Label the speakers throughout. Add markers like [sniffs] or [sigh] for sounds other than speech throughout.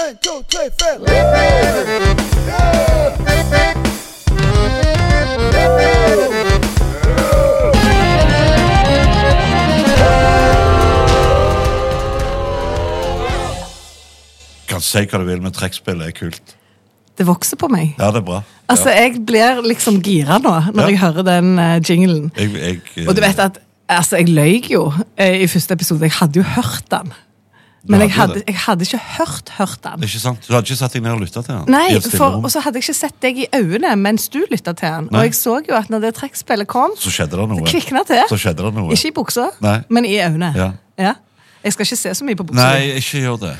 Speaker 1: ein, two, three, four.
Speaker 2: Kan si hva du vil, men trekkspill er kult.
Speaker 3: Det vokser på meg.
Speaker 2: Ja, det er bra.
Speaker 3: Altså, jeg blir liksom gira nå, når
Speaker 2: Ja.
Speaker 3: jeg hører den uh, jinglen.
Speaker 2: Jeg, jeg, eh,
Speaker 3: Og du vet at altså, jeg løy jo eh, i første episode. Jeg hadde jo hørt den.
Speaker 2: Du
Speaker 3: Men jeg
Speaker 2: hadde
Speaker 3: hadde,
Speaker 2: det.
Speaker 3: jeg hadde ikke hørt hørt den.
Speaker 2: Ikke sant? Du hadde ikke satt deg ned og lytta til den?
Speaker 3: Nei,
Speaker 2: I et stille
Speaker 3: for,
Speaker 2: rom.
Speaker 3: Og så hadde jeg ikke sett deg i øynene mens du lytta til den.
Speaker 2: Nei.
Speaker 3: Og jeg så jo at når det trekkspillet kom,
Speaker 2: Så skjedde det noe.
Speaker 3: kvikna til.
Speaker 2: Så skjedde det noe.
Speaker 3: Ikke i buksa,
Speaker 2: Nei.
Speaker 3: men i øynene.
Speaker 2: Ja.
Speaker 3: Jeg skal ikke se så mye på buksa.
Speaker 2: Nei, ikke gjør
Speaker 3: [laughs]
Speaker 2: det.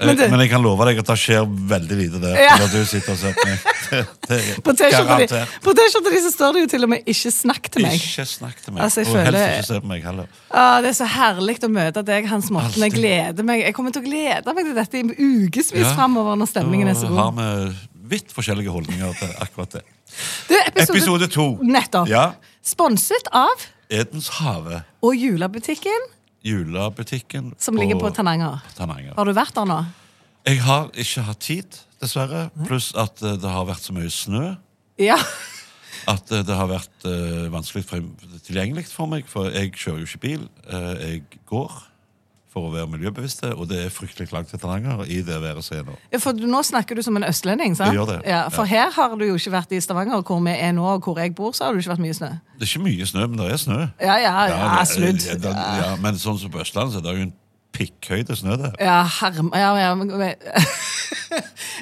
Speaker 2: men,
Speaker 3: du-
Speaker 2: men jeg kan love deg at det skjer veldig lite der.
Speaker 3: Ja.
Speaker 2: Når du sitter og ser
Speaker 3: [laughs]
Speaker 2: på meg. Det, det, er
Speaker 3: På T-skjorta di
Speaker 2: garantert.
Speaker 3: på T-skjorta di så står det jo til og med 'ikke snakk til meg'.
Speaker 2: Ikke snakk til meg.
Speaker 3: Altså, jeg
Speaker 2: og helst
Speaker 3: føler-
Speaker 2: ikke se på meg heller.
Speaker 3: Å, det er så herlig å møte deg, Hans Morten. Jeg
Speaker 2: Alltid.
Speaker 3: gleder meg. Jeg kommer til å glede meg til dette i ukevis
Speaker 2: Ja.
Speaker 3: fremover når stemningen er så
Speaker 2: Da har
Speaker 3: god.
Speaker 2: vi vidt forskjellige holdninger til akkurat det.
Speaker 3: Du,
Speaker 2: Episode to.
Speaker 3: Nettopp.
Speaker 2: Ja.
Speaker 3: Sponset av
Speaker 2: Edenshavet.
Speaker 3: Og julebutikken,
Speaker 2: Julebutikken
Speaker 3: som ligger på Tananger.
Speaker 2: Tananger.
Speaker 3: Har du vært der nå?
Speaker 2: Jeg har ikke hatt tid, dessverre. Pluss at eh, det har vært så mye snø.
Speaker 3: Ja.
Speaker 2: at eh, det har vært eh, vanskelig for, tilgjengelig for meg, for jeg kjører jo ikke bil. Eh, jeg går for å være miljøbevisste, og det er fryktelig langt til Tananger i det været som er nå.
Speaker 3: Ja, For du- nå snakker du som en østlending, sant?
Speaker 2: Jeg gjør det.
Speaker 3: Ja, for her har du jo ikke vært i Stavanger, hvor vi er nå, og hvor jeg bor, så har du ikke vært mye snø.
Speaker 2: Det er ikke mye snø, men det er snø.
Speaker 3: Ja, ja, ja,
Speaker 2: det-
Speaker 3: sludd.
Speaker 2: ja, det- ja, men sånn som på Østlandet, så er det jo en pikkhøyde snø der.
Speaker 3: Ja, herm... Ja, ja, men, men- [laughs]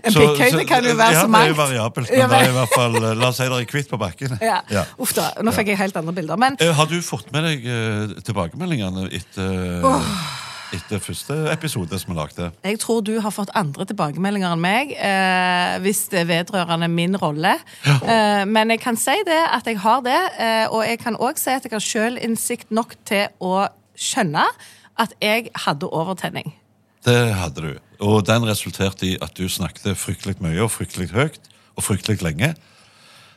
Speaker 3: en
Speaker 2: Så-
Speaker 3: pikkhøyde kan jo være
Speaker 2: ja,
Speaker 3: så
Speaker 2: Det er
Speaker 3: mangt.
Speaker 2: jo variabelt,
Speaker 3: Ja,
Speaker 2: men det er i
Speaker 3: men-
Speaker 2: hvert fall, eh, la oss si det er kvitt på bakken.
Speaker 3: Ja.
Speaker 2: Ja.
Speaker 3: Uff da, nå fikk jeg helt andre bilder. Men
Speaker 2: Eh, Har du fått med deg eh, tilbakemeldingene etter, etter første episode som vi lagde?
Speaker 3: jeg tror du har fått andre tilbakemeldinger enn meg, eh, hvis det er vedrørende min rolle. Eh, men jeg kan si det at jeg har det, eh, og jeg kan òg si at jeg har sjølinnsikt nok til å skjønne at jeg hadde overtenning.
Speaker 2: Det hadde du. Og den resulterte i at du snakket fryktelig mye og fryktelig høyt og fryktelig lenge.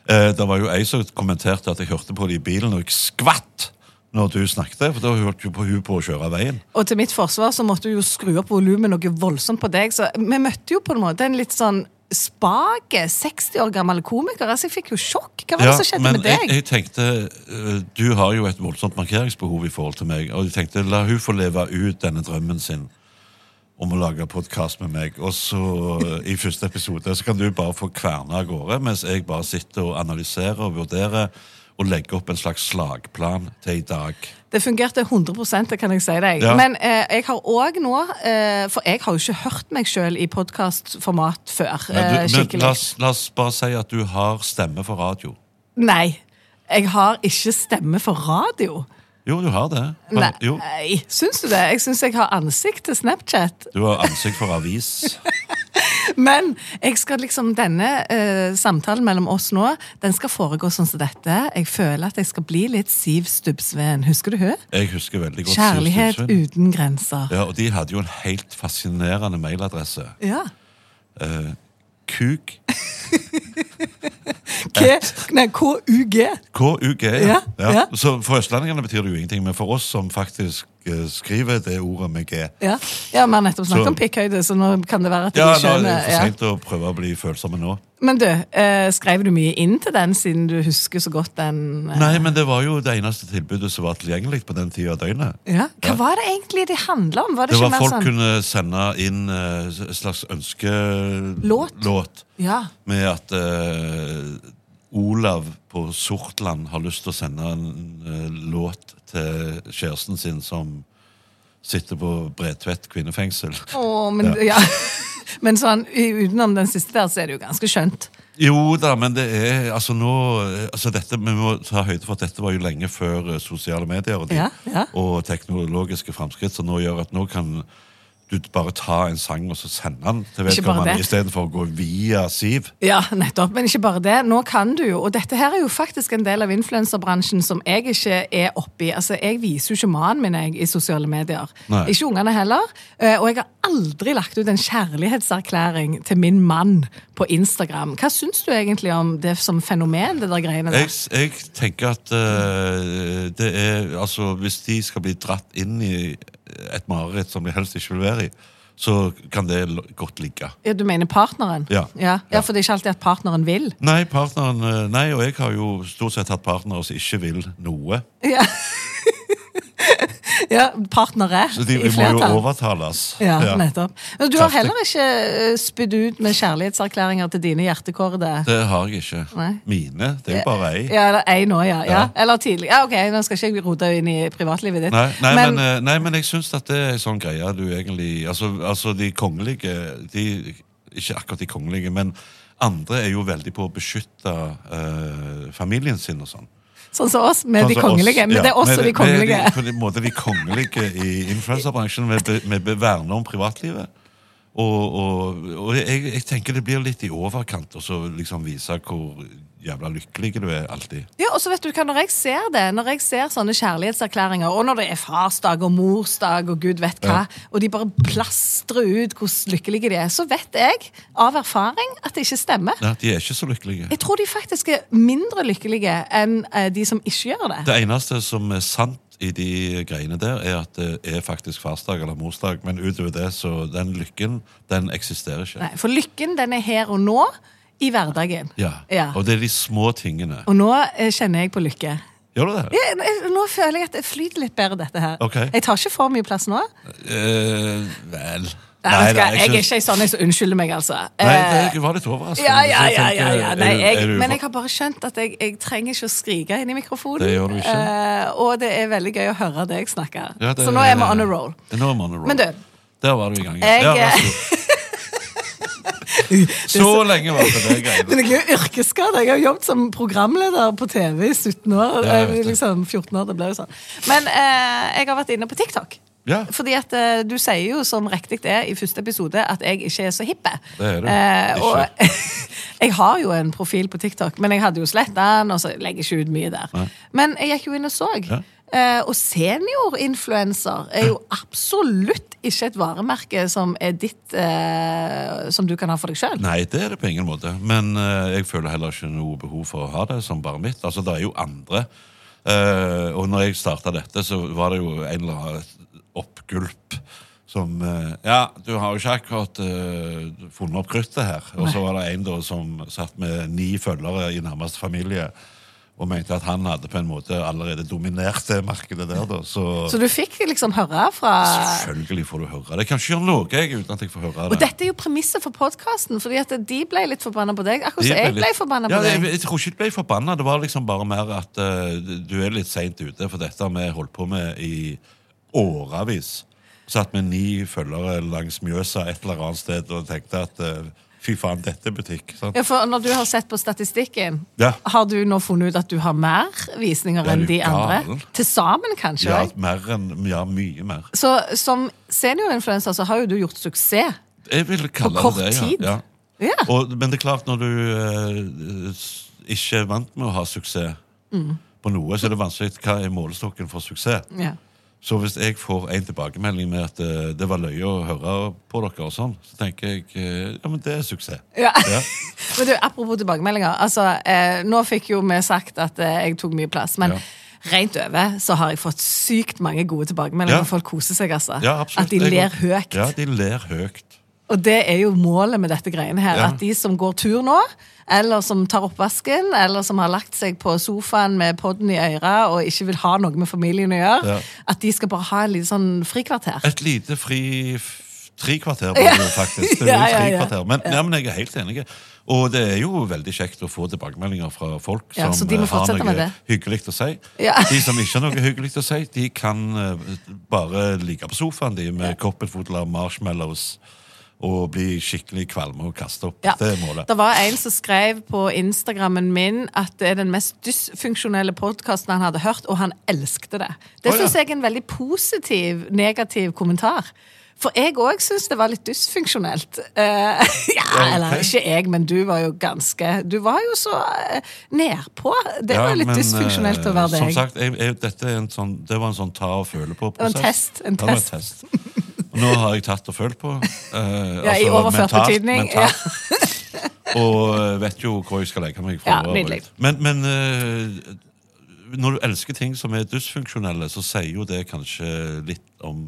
Speaker 2: Eh, det var jo ei som kommenterte at jeg hørte på det i bilen, og jeg skvatt når du snakket. For da hørte jo på hun på å kjøre av veien.
Speaker 3: Og til mitt forsvar så måtte du jo skru opp volumet noe voldsomt på deg. Så vi møtte jo på en måte en litt sånn spake 60 år gammel komiker. Altså, jeg fikk jo sjokk. Hva var det som skjedde
Speaker 2: men
Speaker 3: med deg?
Speaker 2: Jeg, jeg tenkte, eh, Du har jo et voldsomt markeringsbehov i forhold til meg, og jeg tenkte la hun få leve ut denne drømmen sin om å lage podkast med meg. Og så eh, i første episode så kan du bare få kverne av gårde, mens jeg bare sitter og analyserer og vurderer og legger opp en slags slagplan til i dag.
Speaker 3: Det fungerte 100 det kan jeg si deg.
Speaker 2: Ja.
Speaker 3: Men eh, jeg har òg nå eh, For jeg har jo ikke hørt meg sjøl i podkastformat før.
Speaker 2: Men,
Speaker 3: eh,
Speaker 2: du, men
Speaker 3: skikkelig.
Speaker 2: la, oss, la oss bare si at du har stemme for radio.
Speaker 3: Nei. Jeg har ikke stemme for radio.
Speaker 2: Jo, du har det. Har-
Speaker 3: Nei.
Speaker 2: Jo,
Speaker 3: Syns du det? Jeg syns jeg har ansikt til Snapchat.
Speaker 2: du har ansikt for avis.
Speaker 3: Men jeg skal liksom, denne eh, samtalen mellom oss nå den skal foregå sånn som dette. Jeg føler at jeg skal bli litt Siv Stubbsveen. Husker du hun?
Speaker 2: Jeg husker veldig godt Siv
Speaker 3: Kjærlighet
Speaker 2: Stubbsveen.
Speaker 3: uten grenser.
Speaker 2: Ja, og de hadde jo en helt fascinerende mailadresse.
Speaker 3: Ja.
Speaker 2: Eh,
Speaker 3: [laughs]
Speaker 2: kuk
Speaker 3: K nei, KUG.
Speaker 2: KUG.
Speaker 3: Ja, ja.
Speaker 2: Så for østlendingene betyr det jo ingenting, men for oss som faktisk eh, skriver det ordet med G
Speaker 3: Ja. ja, vi har nettopp
Speaker 2: Så-
Speaker 3: snakket om pikkhøyde, så nå kan det være at de
Speaker 2: Ja, nå er det
Speaker 3: skjønner.
Speaker 2: for
Speaker 3: ja.
Speaker 2: seint å prøve å bli følsomme nå.
Speaker 3: Men du, eh, skrev du mye inn til den, siden du husker så godt den? eh,
Speaker 2: Nei, men det var jo det eneste tilbudet som var tilgjengelig på den tida av døgnet.
Speaker 3: Ja. Hva var det egentlig de handla om? Var det,
Speaker 2: Det var
Speaker 3: ikke mer
Speaker 2: Folk
Speaker 3: sånn
Speaker 2: kunne sende inn eh, s- slags ønskelåt
Speaker 3: Låt. Ja.
Speaker 2: med at eh, Olav på Sortland har lyst til å sende en eh, låt til kjæresten sin som sitter på Bredtvet kvinnefengsel.
Speaker 3: Å, men, ja. [laughs] men sånn, u- utenom den siste der, så er det jo ganske skjønt.
Speaker 2: Jo da, men det er altså nå eh, altså dette, Vi må ta høyde for at dette var jo lenge før eh, sosiale medier og, de,
Speaker 3: Ja, ja.
Speaker 2: og teknologiske framskritt, som nå gjør at nå kan du bare ta en sang og så sende den til
Speaker 3: Ikke bare
Speaker 2: vedkommende
Speaker 3: det.
Speaker 2: istedenfor å gå via Siv.
Speaker 3: Ja, nettopp. Men ikke bare det. Nå kan du jo, og dette her er jo faktisk en del av influenserbransjen som jeg ikke er oppi. Altså, Jeg viser jo ikke mannen min jeg, i sosiale medier.
Speaker 2: Nei.
Speaker 3: Ikke ungene heller. Eh, Og jeg har aldri lagt ut en kjærlighetserklæring til min mann på Instagram. Hva syns du egentlig om det som fenomen, det der greiene
Speaker 2: Jeg,
Speaker 3: der?
Speaker 2: jeg tenker at eh, det er Altså, hvis de skal bli dratt inn i et mareritt som de helst ikke vil være i, så kan det l- godt ligge.
Speaker 3: Ja, Du mener partneren?
Speaker 2: Ja.
Speaker 3: ja.
Speaker 2: Ja.
Speaker 3: Ja, For det er ikke alltid at partneren vil. [laughs]
Speaker 2: Nei, partneren, eh, nei, og jeg har jo stort sett hatt partnere som ikke vil noe.
Speaker 3: Ja. ja partnere
Speaker 2: Så de,
Speaker 3: i
Speaker 2: vi må jo
Speaker 3: flertall.
Speaker 2: overtales.
Speaker 3: Ja, nettopp. Men Du har
Speaker 2: Kraftig.
Speaker 3: heller ikke eh, spydd ut med kjærlighetserklæringer til dine hjertekårde.
Speaker 2: Det har jeg ikke.
Speaker 3: Nei.
Speaker 2: Mine. Det er jo bare ei.
Speaker 3: Ja, eller ei nå, ja. ja.
Speaker 2: Ja.
Speaker 3: Eller tidlig. Ja, ok, Nå skal ikke jeg rote inn i privatlivet ditt.
Speaker 2: [laughs] Nei, nei, men,
Speaker 3: men,
Speaker 2: eh, nei, men jeg syns at det er en sånn greie du egentlig Altså, altså de kongelige de, Ikke akkurat de kongelige, men andre er jo veldig på å beskytte eh, familien sin og sånn.
Speaker 3: sånn som oss, med
Speaker 2: Sånn
Speaker 3: de
Speaker 2: som oss.
Speaker 3: kongelige. Men
Speaker 2: Ja,
Speaker 3: det er også
Speaker 2: vi-
Speaker 3: de
Speaker 2: Vi
Speaker 3: kongelige.
Speaker 2: er de- på en måte de kongelige i influenserbransjen. Vi be- Vi be- verner om privatlivet. Og, og, og jeg, jeg tenker det blir litt i overkant å så liksom vise hvor jævla lykkelig du er alltid.
Speaker 3: Ja, og så vet du hva, Når jeg ser det, når jeg ser sånne kjærlighetserklæringer, og når det er farsdag og morsdag og gud vet hva, og de bare plastrer ut hvor lykkelige de er, så vet jeg av erfaring at det ikke stemmer.
Speaker 2: Nei, de er ikke så lykkelige.
Speaker 3: Jeg tror de faktisk er mindre lykkelige enn eh, de som ikke gjør det.
Speaker 2: Det eneste som er sant i de greiene der, er at det er faktisk farsdag eller morsdag. Men utover det, så den lykken, den eksisterer ikke.
Speaker 3: Nei, For lykken den er her og nå, i hverdagen.
Speaker 2: Ja. Og det er de små tingene.
Speaker 3: Og nå eh, kjenner jeg på lykke.
Speaker 2: Gjør du det?
Speaker 3: Jeg, jeg, nå føler jeg at det flyter litt bedre, dette her.
Speaker 2: Ok.
Speaker 3: Jeg tar ikke for mye plass nå.
Speaker 2: Eh, vel
Speaker 3: Nei, vet du
Speaker 2: da,
Speaker 3: hva, jeg er
Speaker 2: syns-
Speaker 3: ikke ei sånn jeg som unnskylder meg, altså.
Speaker 2: Nei,
Speaker 3: Eh,
Speaker 2: det- jeg var litt overrasket.
Speaker 3: Ja, ja,
Speaker 2: Så jeg
Speaker 3: ja,
Speaker 2: tenker,
Speaker 3: ja, ja.
Speaker 2: er
Speaker 3: Nei,
Speaker 2: du- er
Speaker 3: jeg,
Speaker 2: du
Speaker 3: men jeg
Speaker 2: for-
Speaker 3: har bare skjønt at jeg, jeg trenger ikke å skrike inn i mikrofonen.
Speaker 2: Det gjør du ikke.
Speaker 3: eh, og det er veldig gøy å høre deg snakke.
Speaker 2: Ja, det- eh,
Speaker 3: Så nå er vi on a roll.
Speaker 2: Nå er vi on a roll.
Speaker 3: Men du,
Speaker 2: Der var du i gang. ja.
Speaker 3: Jeg-
Speaker 2: Ja, vær
Speaker 3: [laughs]
Speaker 2: så god. så lenge var det det greiene.
Speaker 3: men jeg er jo yrkesskada. Jeg har jobbet som programleder på TV i 17 år.
Speaker 2: Ja, jeg
Speaker 3: eh,
Speaker 2: vet det.
Speaker 3: liksom 14 år, det ble jo sånn. Men eh, jeg har vært inne på TikTok.
Speaker 2: Ja.
Speaker 3: Fordi at eh, du sier jo som riktig er i første episode at jeg ikke er så hippe.
Speaker 2: Det er du.
Speaker 3: Eh, og
Speaker 2: Ikke.
Speaker 3: [laughs] jeg har jo en profil på TikTok, men jeg hadde jo sletta den. og så legger jeg ikke ut mye der. Men jeg gikk jo inn og så.
Speaker 2: Ja.
Speaker 3: Eh, og seniorinfluenser er jo absolutt ikke et varemerke som er ditt eh, Som du kan ha for deg sjøl.
Speaker 2: Nei, det er det på ingen måte. Men eh, jeg føler heller ikke noe behov for å ha det som bare mitt. Altså, det er jo andre. Eh, og når jeg starta dette, så var det jo en eller annen oppgulp som eh, Ja, du har jo ikke akkurat eh, funnet opp kruttet her. Og så var det en da som satt med ni følgere i nærmeste familie. Og mente at han hadde på en måte allerede dominert det markedet der. da. Så,
Speaker 3: Så du fikk liksom høre fra
Speaker 2: selvfølgelig får du høre det. Jeg kan ikke gjøre noe jeg, uten at jeg får høre det.
Speaker 3: Og dette er jo premisset for podkasten, fordi at de ble litt forbanna på deg. Akkurat som jeg ble
Speaker 2: litt-
Speaker 3: forbanna
Speaker 2: ja,
Speaker 3: på
Speaker 2: jeg,
Speaker 3: deg.
Speaker 2: jeg tror ikke jeg ble forbanna. Det var liksom bare mer at eh, du er litt seint ute, for dette har vi holdt på med i årevis. Satt med ni følgere langs Mjøsa et eller annet sted og tenkte at eh, fy faen, dette er butikk. Sant?
Speaker 3: Ja, for når du har sett på statistikken,
Speaker 2: Ja.
Speaker 3: har du nå funnet ut at du har mer visninger
Speaker 2: Er
Speaker 3: enn
Speaker 2: du
Speaker 3: de andre?
Speaker 2: gal?
Speaker 3: Til sammen, kanskje?
Speaker 2: Ja,
Speaker 3: også?
Speaker 2: mer enn, ja, mye mer.
Speaker 3: Så som seniorinfluenser så har jo du gjort suksess.
Speaker 2: Jeg vil kalle
Speaker 3: kort
Speaker 2: det det, ja.
Speaker 3: tid?
Speaker 2: ja.
Speaker 3: Ja.
Speaker 2: Og, men det er klart, når du eh, s- ikke er vant med å ha suksess
Speaker 3: Mm.
Speaker 2: på noe, så er det vanskelig. Hva er målestokken for suksess?
Speaker 3: Ja.
Speaker 2: Så hvis jeg får en tilbakemelding med at eh, det var løye å høre på dere, og sånn, så tenker jeg eh, ja, men det er suksess.
Speaker 3: Ja.
Speaker 2: Ja.
Speaker 3: [laughs] Men du, apropos tilbakemeldinger. Altså, eh, nå fikk jo vi sagt at eh, jeg tok mye plass, men
Speaker 2: Ja.
Speaker 3: rent over så har jeg fått sykt mange gode tilbakemeldinger.
Speaker 2: Ja.
Speaker 3: Folk koser seg, altså.
Speaker 2: Ja, absolutt.
Speaker 3: at de
Speaker 2: Jeg
Speaker 3: ler
Speaker 2: går-
Speaker 3: høyt.
Speaker 2: Ja, de ler høyt.
Speaker 3: Og det er jo målet med dette greiene her.
Speaker 2: Ja.
Speaker 3: At de som går tur nå, eller som tar oppvasken, eller som har lagt seg på sofaen med podden i øra og ikke vil ha noe med familien å gjøre,
Speaker 2: Ja.
Speaker 3: at de skal bare ha et lite sånn frikvarter.
Speaker 2: Et lite fri f- trikvarter, blir det jo faktisk. Det blir
Speaker 3: [laughs] Ja, ja, ja.
Speaker 2: trikvarter. Men, ja, men jeg er helt enig. Og det er jo veldig kjekt å få tilbakemeldinger fra folk
Speaker 3: Ja, så
Speaker 2: som
Speaker 3: de må
Speaker 2: eh, har
Speaker 3: fortsette med
Speaker 2: noe
Speaker 3: det.
Speaker 2: hyggelig å si.
Speaker 3: Ja.
Speaker 2: De som ikke har noe hyggelig å si, de kan eh, bare ligge på sofaen de med koppelfotler, marshmallows og bli skikkelig kvalme og kaste opp.
Speaker 3: Ja.
Speaker 2: Det er målet.
Speaker 3: Det var en som skrev på Instagrammen min at det er den mest dysfunksjonelle podkasten han hadde hørt, og han elsket det. Det
Speaker 2: Å, ja.
Speaker 3: syns jeg er en veldig positiv, negativ kommentar. For jeg òg syns det var litt dysfunksjonelt. Eh, [laughs] ja,
Speaker 2: Ja,
Speaker 3: eller
Speaker 2: ok.
Speaker 3: ikke jeg, men du var jo ganske Du var jo så eh, nedpå. Det
Speaker 2: Ja,
Speaker 3: var litt
Speaker 2: men, eh,
Speaker 3: dysfunksjonelt å være
Speaker 2: Som
Speaker 3: deg.
Speaker 2: sagt, jeg, jeg, dette er en sånn, det var en sånn ta og føle
Speaker 3: var en
Speaker 2: på-prosess.
Speaker 3: test, en test.
Speaker 2: Og nå har jeg tatt og følt på. eh,
Speaker 3: [laughs] Ja, i overført betydning, [laughs]
Speaker 2: mentalt. og eh, vet jo hvor jeg skal legge meg.
Speaker 3: Ja,
Speaker 2: å være
Speaker 3: nydelig.
Speaker 2: ut. Men, men eh, når du elsker ting som er dysfunksjonelle, så sier jo det kanskje litt om,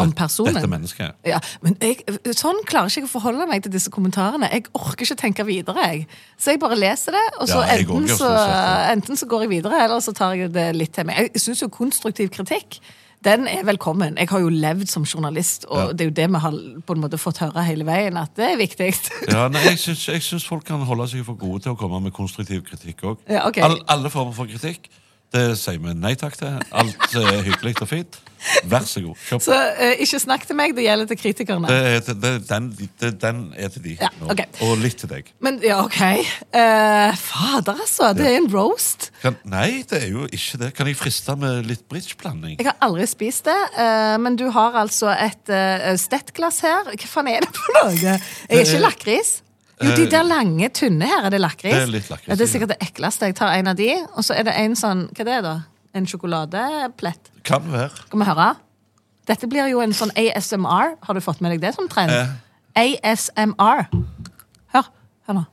Speaker 3: Om
Speaker 2: det-
Speaker 3: personen.
Speaker 2: dette mennesket.
Speaker 3: Ja, men jeg, Sånn klarer ikke jeg å forholde meg til disse kommentarene. Jeg orker ikke tenke videre. jeg. Så jeg bare leser det, og så,
Speaker 2: Ja, jeg
Speaker 3: enten,
Speaker 2: orker
Speaker 3: så
Speaker 2: stort sett
Speaker 3: enten så går jeg videre, eller så tar jeg det litt til meg. Jeg syns jo konstruktiv kritikk den er velkommen. Jeg har jo levd som journalist, og
Speaker 2: Ja.
Speaker 3: det er jo det vi har på en måte fått høre hele veien, at det er viktig.
Speaker 2: Ja, nei, jeg syns, jeg syns folk kan holde seg for gode til å komme med konstruktiv kritikk òg.
Speaker 3: Ja, ok.
Speaker 2: All, alle former for kritikk. Det sier vi nei takk til. Alt er hyggelig og fint. Vær så god. Kjøp.
Speaker 3: [laughs] Så eh, ikke snakk til meg, det gjelder til kritikerne.
Speaker 2: Det er til, det, den, det, den er til de
Speaker 3: Ja,
Speaker 2: nå.
Speaker 3: ok.
Speaker 2: Og litt til deg.
Speaker 3: Men ja, OK. Eh, fader, altså. Det er en roast.
Speaker 2: Kan, nei, det er jo ikke det. Kan jeg friste med litt bridgeblanding?
Speaker 3: Jeg har aldri spist det, eh, men du har altså et eh, stettglass her. Hva faen er det for noe? Jeg er
Speaker 2: Eh,
Speaker 3: ikke lakris. Jo, de der lange, tynne her, er det lakris?
Speaker 2: Det er litt lakris,
Speaker 3: Ja, det er sikkert det ekleste. Jeg tar en av de, og så er det en sånn Hva det er da? En sjokoladeplett.
Speaker 2: Kan være.
Speaker 3: Skal vi høre? Dette blir jo en sånn ASMR. Har du fått med deg det som trend?
Speaker 2: Eh.
Speaker 3: ASMR. Hør. Hør nå.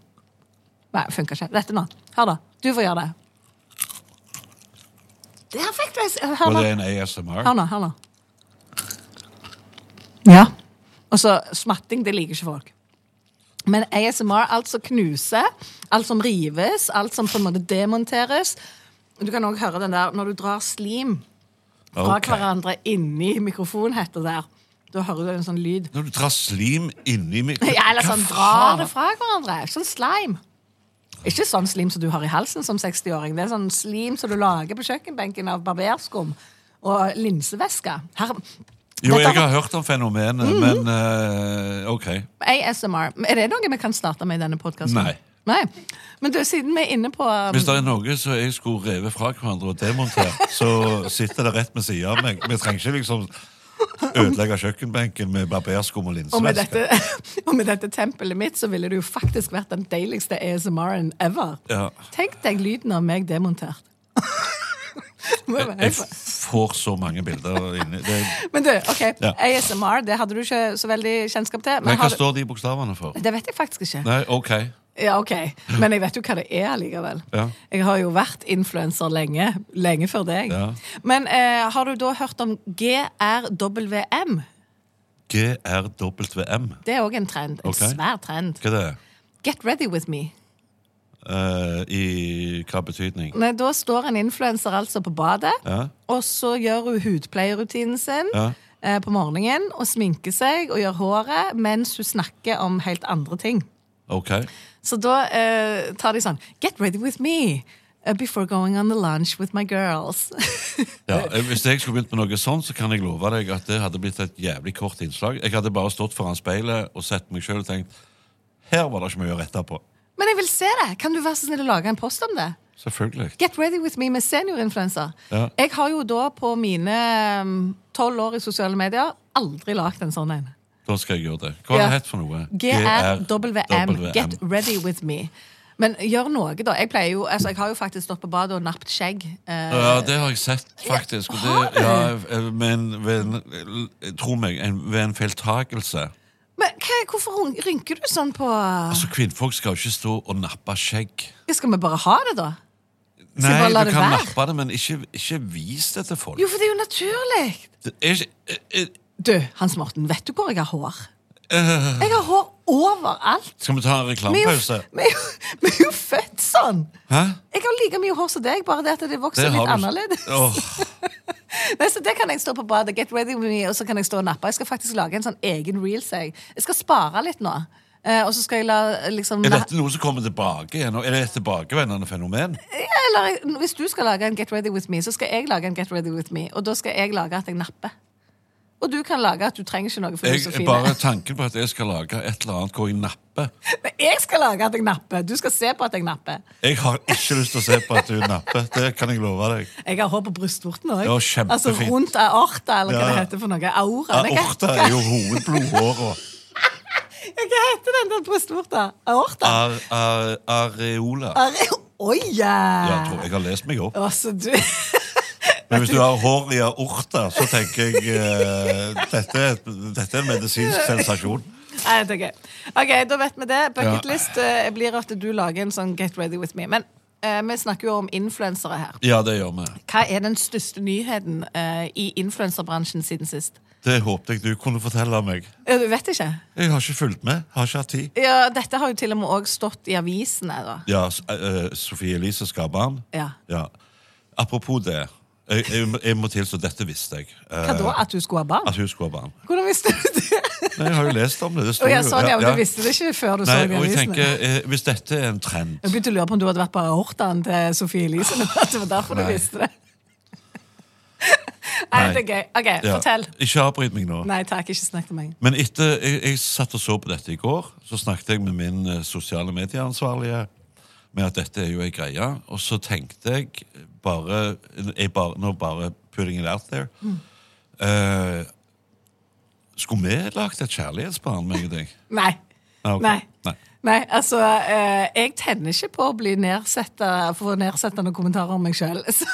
Speaker 3: Nei, det funker ikke. Dette nå. Hør, da. Du får gjøre det. Der fikk du en Hør
Speaker 2: Var
Speaker 3: nå.
Speaker 2: det en ASMR?
Speaker 3: Hør nå, hør nå. Ja. Og så Altså, smatting, det liker ikke folk. Men ASMR, alt som knuser, alt som rives, alt som på en måte demonteres. Du kan òg høre den der når du drar slim fra
Speaker 2: Ok.
Speaker 3: hverandre inni mikrofonen, heter det der. Da hører du en sånn lyd. [laughs]
Speaker 2: Når du drar slim inni mik...
Speaker 3: Ja, eller sånn
Speaker 2: Hva
Speaker 3: drar
Speaker 2: faen?
Speaker 3: det fra hverandre. Sånn slime. Ikke sånn slim som du har i halsen som 60-åring. Det er sånn slim som du lager på kjøkkenbenken av barberskum og linsevæske. Her,
Speaker 2: Jo,
Speaker 3: Dette Mhm.
Speaker 2: jeg har hørt om fenomenet, men eh, OK.
Speaker 3: ASMR. Er det noe vi kan starte med i denne podkasten?
Speaker 2: Nei.
Speaker 3: Nei. Men du, siden vi er inne på um,
Speaker 2: Hvis det er noe som jeg skulle revet fra hverandre og demontert, så sitter det rett ved siden av meg. Vi trenger ikke liksom ødelegge kjøkkenbenken med barberskum og
Speaker 3: og med,
Speaker 2: linsevæske.
Speaker 3: dette, og med dette [laughs] tempelet mitt, så ville det jo faktisk vært den deiligste ASMR-en ever.
Speaker 2: Ja.
Speaker 3: Tenk deg lyden av meg demontert. [laughs] Må være
Speaker 2: Jeg får så mange bilder inni det,
Speaker 3: Men du, ok,
Speaker 2: Ja.
Speaker 3: ASMR det hadde du ikke så veldig kjennskap til.
Speaker 2: Men
Speaker 3: Men
Speaker 2: hva
Speaker 3: har du...
Speaker 2: står de bokstavene for?
Speaker 3: Det vet jeg faktisk ikke.
Speaker 2: Nei, OK.
Speaker 3: Ja, ok, Men jeg vet jo hva det er allikevel.
Speaker 2: Ja.
Speaker 3: Jeg har jo vært influenser lenge. Lenge før deg.
Speaker 2: Ja.
Speaker 3: Men eh, har du da hørt om GRWM?
Speaker 2: GRWM.
Speaker 3: Det er òg en trend. En
Speaker 2: Ok.
Speaker 3: svær trend.
Speaker 2: Hva er det?
Speaker 3: Get ready with me.
Speaker 2: Eh, I hva betydning?
Speaker 3: Nei, Da står en influenser altså på badet, og så gjør hun hudpleierrutinen sin eh, på morgenen. Og sminker seg og gjør håret mens hun snakker om helt andre ting.
Speaker 2: OK.
Speaker 3: Så da eh, tar de sånn Get ready with me uh, before going on the lunch with my girls. [laughs]
Speaker 2: Ja, eh, hvis jeg skulle begynt med noe sånt, så kan jeg love deg at det hadde blitt et jævlig kort innslag. Jeg hadde bare stått foran speilet og sett meg sjøl og tenkt Her var det ikke mye å rette på.
Speaker 3: Men jeg vil se det! Kan du være så snill å lage en post om det?
Speaker 2: Selvfølgelig.
Speaker 3: Get ready with me med seniorinfluenser.
Speaker 2: Ja.
Speaker 3: Jeg mm, har jo da på mine tolv år i sosiale medier aldri lagd en sånn en.
Speaker 2: Da skal jeg gjøre det. Hva var det
Speaker 3: Ja.
Speaker 2: het for noe?
Speaker 3: GRWM.
Speaker 2: GRWM.
Speaker 3: Get ready with me. Men gjør noe, da. Jeg pleier jo, altså jeg har jo faktisk stått på badet og nappet skjegg. eh,
Speaker 2: Ja, det har jeg sett, faktisk. Og
Speaker 3: har du?
Speaker 2: det, ja, men ved en, tro meg, en, ved en feiltagelse
Speaker 3: Men hva, hvorfor ryn- rynker du sånn på
Speaker 2: Altså, Kvinnfolk skal jo ikke stå og nappe skjegg.
Speaker 3: Skal vi bare ha det, da?
Speaker 2: Nei,
Speaker 3: bare la
Speaker 2: du
Speaker 3: det
Speaker 2: kan
Speaker 3: være?
Speaker 2: nappe det, men ikke, ikke vis det til folk.
Speaker 3: Jo, for det er jo naturlig.
Speaker 2: Det er ikke, eh, eh,
Speaker 3: Du, Hans Morten, vet du hvor jeg har hår?
Speaker 2: Eh.
Speaker 3: Jeg har hår overalt.
Speaker 2: skal vi ta en
Speaker 3: Vi er jo,
Speaker 2: reklamepause?
Speaker 3: vi er jo, [laughs] vi er jo født sånn.
Speaker 2: Hæ?
Speaker 3: Jeg har like mye hår som deg, bare det at det vokser
Speaker 2: Det har
Speaker 3: litt
Speaker 2: du-
Speaker 3: annerledes.
Speaker 2: Åh,
Speaker 3: [laughs] Nei, så Det kan jeg stå på badet, get ready with me, og så kan jeg stå og nappe. Jeg skal faktisk lage en sånn egen reels. Jeg, jeg skal spare litt nå. Eh, og så skal jeg la eh, liksom
Speaker 2: er
Speaker 3: na-
Speaker 2: dette noe som kommer tilbake igjen? og Er det et tilbakevendende fenomen?
Speaker 3: Ja, Eller jeg- hvis du skal lage en Get Ready With Me, så skal jeg lage en Get Ready With Me. Og da skal jeg lage at jeg napper. Og du kan lage at du trenger ikke noe for du er så
Speaker 2: Jeg,
Speaker 3: fin.
Speaker 2: bare tanken på at jeg skal lage et eller annet hvor jeg napper
Speaker 3: [laughs] Men jeg skal lage at jeg napper! Du skal se på at jeg napper.
Speaker 2: Jeg har ikke lyst til å se på at du napper. Det kan jeg love deg.
Speaker 3: Jeg har hår på brystvorten òg.
Speaker 2: Ja, kjempefint.
Speaker 3: altså rundt aorta, eller hva
Speaker 2: Ja.
Speaker 3: det heter for noe. Aura. Nei, hva-
Speaker 2: Aorta er jo hovedblodåra.
Speaker 3: Hva heter den der brystvorta? Aorta?
Speaker 2: Ar, ar, areola.
Speaker 3: Are- Oi! ja.
Speaker 2: Ja, jeg tror jeg har lest meg opp.
Speaker 3: Altså, du [laughs] Ah.
Speaker 2: Men hvis du har hår i aorta, så tenker jeg eh, dette, er et- dette er en medisinsk sensasjon.
Speaker 3: Nei, det er gøy. Ok, da vet vi det. Bucketlist eh, blir at du lager en sånn Get Ready With Me. Men eh, vi snakker jo om influensere her.
Speaker 2: Ja, det gjør vi.
Speaker 3: Hva er den største nyheten eh, i influenserbransjen siden sist?
Speaker 2: Det håpte jeg du kunne fortelle meg.
Speaker 3: Ja, Du vet ikke.
Speaker 2: Jeg har ikke fulgt med. Har ikke hatt tid.
Speaker 3: Ja, dette har jo til og med også stått i avisene. da.
Speaker 2: Ja, S- eh, Sofie Elise Skabaren.
Speaker 3: Ja.
Speaker 2: Ja. Apropos det. Jeg, jeg, jeg må tilstå, dette visste jeg. Eh,
Speaker 3: Hva da? At du skulle ha barn?
Speaker 2: At hun skulle ha barn.
Speaker 3: Hvordan visste du det?
Speaker 2: Nei, Jeg har jo lest om det. det står
Speaker 3: Å, ja,
Speaker 2: jo-
Speaker 3: sånn, ja, men
Speaker 2: ja.
Speaker 3: Du visste det ikke før du så
Speaker 2: Nei,
Speaker 3: det i
Speaker 2: og jeg
Speaker 3: avisene?
Speaker 2: tenker, eh, Hvis dette er en trend
Speaker 3: Jeg begynte å lure på om du hadde vært på aortaen til Sofie Elise. men At det var derfor du
Speaker 2: Nei.
Speaker 3: visste det. Nei, det er gøy. Ok,
Speaker 2: ja.
Speaker 3: fortell.
Speaker 2: Ikke avbryt meg nå.
Speaker 3: Nei takk, ikke snakk til meg.
Speaker 2: Men etter, jeg, jeg satt og så på dette i går, så snakket jeg med min eh, sosiale medieansvarlige med at dette er jo ei greie. Og så tenkte jeg bare, jeg bare Nå bare putting it out there. Eh, skulle vi lagd et kjærlighetsbarn, meg og deg?
Speaker 3: Nei.
Speaker 2: Ah, ok.
Speaker 3: Nei.
Speaker 2: Nei.
Speaker 3: Nei, altså, eh, jeg tenner ikke på å bli nedsetta for nedsettende kommentarer om meg sjøl. [laughs] Så,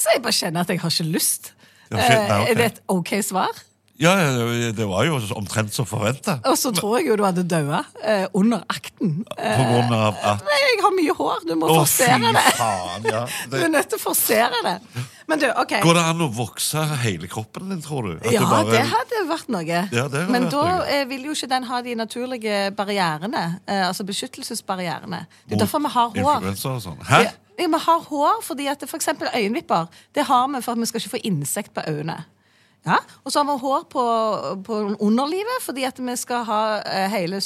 Speaker 3: så jeg bare kjenner at jeg har ikke lyst.
Speaker 2: Ja, shit, nei, ok.
Speaker 3: Eh, Er det et ok svar?
Speaker 2: Ja, ja, det var jo omtrent som forventa.
Speaker 3: Og så tror jeg jo du hadde daua eh, under akten. Eh,
Speaker 2: På grunn av at
Speaker 3: Nei, jeg har mye hår, du må
Speaker 2: Å, fy
Speaker 3: forsere det.
Speaker 2: faen! Ja.
Speaker 3: Du er
Speaker 2: Det,
Speaker 3: nødt til å forsere det. Men du, OK.
Speaker 2: går det an å vokse hele kroppen din, tror du? At
Speaker 3: Ja,
Speaker 2: du bare-
Speaker 3: det hadde vært noe.
Speaker 2: hadde
Speaker 3: Men
Speaker 2: vært
Speaker 3: da
Speaker 2: noe.
Speaker 3: eh, vil jo ikke den ha de naturlige barrierene. Eh, altså beskyttelsesbarrierene.
Speaker 2: Mot
Speaker 3: Det er derfor vi har hår.
Speaker 2: influenser og sånn. Hæ?
Speaker 3: Ja, Ja, vi har hår fordi at for eksempel øyenvipper, det har vi for at vi skal ikke få insekt på øynene. Ja, Og så har vi hår på, på underlivet fordi at vi skal ha eh, hele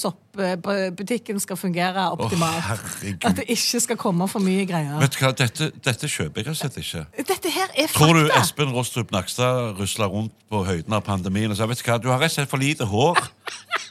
Speaker 3: soppbutikken skal fungere optimalt.
Speaker 2: herregud.
Speaker 3: at det ikke skal komme for mye greier.
Speaker 2: Vet du hva, dette, dette kjøper jeg rett og slett ikke.
Speaker 3: Dette her er fakta!
Speaker 2: Tror du Espen Rostrup Nakstad rusler rundt på høyden av pandemien og sier vet du hva, du har rett og slett for lite hår?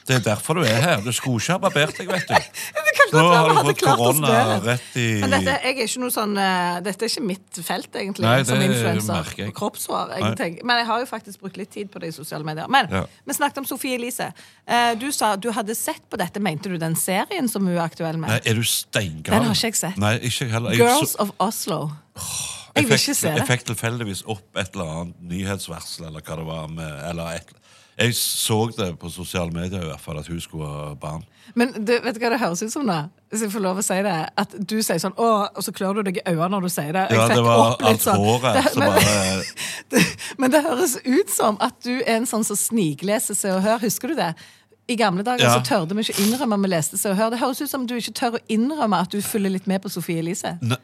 Speaker 2: Det er derfor du er her. Du skulle ikke ha barbert deg, vet du.
Speaker 3: [laughs] Det kan
Speaker 2: Nå
Speaker 3: godt
Speaker 2: har
Speaker 3: være
Speaker 2: du
Speaker 3: vi hadde
Speaker 2: fått
Speaker 3: klart oss
Speaker 2: korona
Speaker 3: bedre.
Speaker 2: rett i-
Speaker 3: Men dette, jeg er ikke noe sånn, eh, dette er ikke mitt felt, egentlig,
Speaker 2: Nei, det
Speaker 3: som influenser.
Speaker 2: merker jeg.
Speaker 3: og Kroppshår.
Speaker 2: Nei.
Speaker 3: Jeg tenker, men jeg har jo faktisk brukt litt tid på det i sosiale medier. Men
Speaker 2: Ja.
Speaker 3: vi snakket om Sofie Elise. Eh, Du sa du hadde sett på dette. Mente du den serien som hun er aktuell med?
Speaker 2: Nei, er du steingal?
Speaker 3: Den har ikke jeg sett.
Speaker 2: Nei, ikke jeg heller. Jeg
Speaker 3: Girls
Speaker 2: så-
Speaker 3: of Oslo. Jeg vil ikke se
Speaker 2: fikk-
Speaker 3: det.
Speaker 2: Jeg fikk tilfeldigvis opp et eller annet nyhetsvarsel eller hva det var med eller et, Jeg så det på sosiale medier i hvert fall, at hun skulle ha barn.
Speaker 3: Men du, vet du hva det høres ut som, da? Hvis jeg får lov å si det. At du sier sånn Å, og så klør du deg i øynene når du sier det. Jeg
Speaker 2: Ja, det
Speaker 3: fikk
Speaker 2: var
Speaker 3: opp litt sånn.
Speaker 2: alt håret som
Speaker 3: men,
Speaker 2: bare-
Speaker 3: [laughs] det, men det høres ut som at du er en sånn som snikleser Se og Hør. Husker du det? I gamle dager
Speaker 2: Ja.
Speaker 3: så tørde vi ikke innrømme vi leste Se og Hør. Det høres ut som du ikke tør å innrømme at du følger litt med på Sofie Elise.
Speaker 2: Ne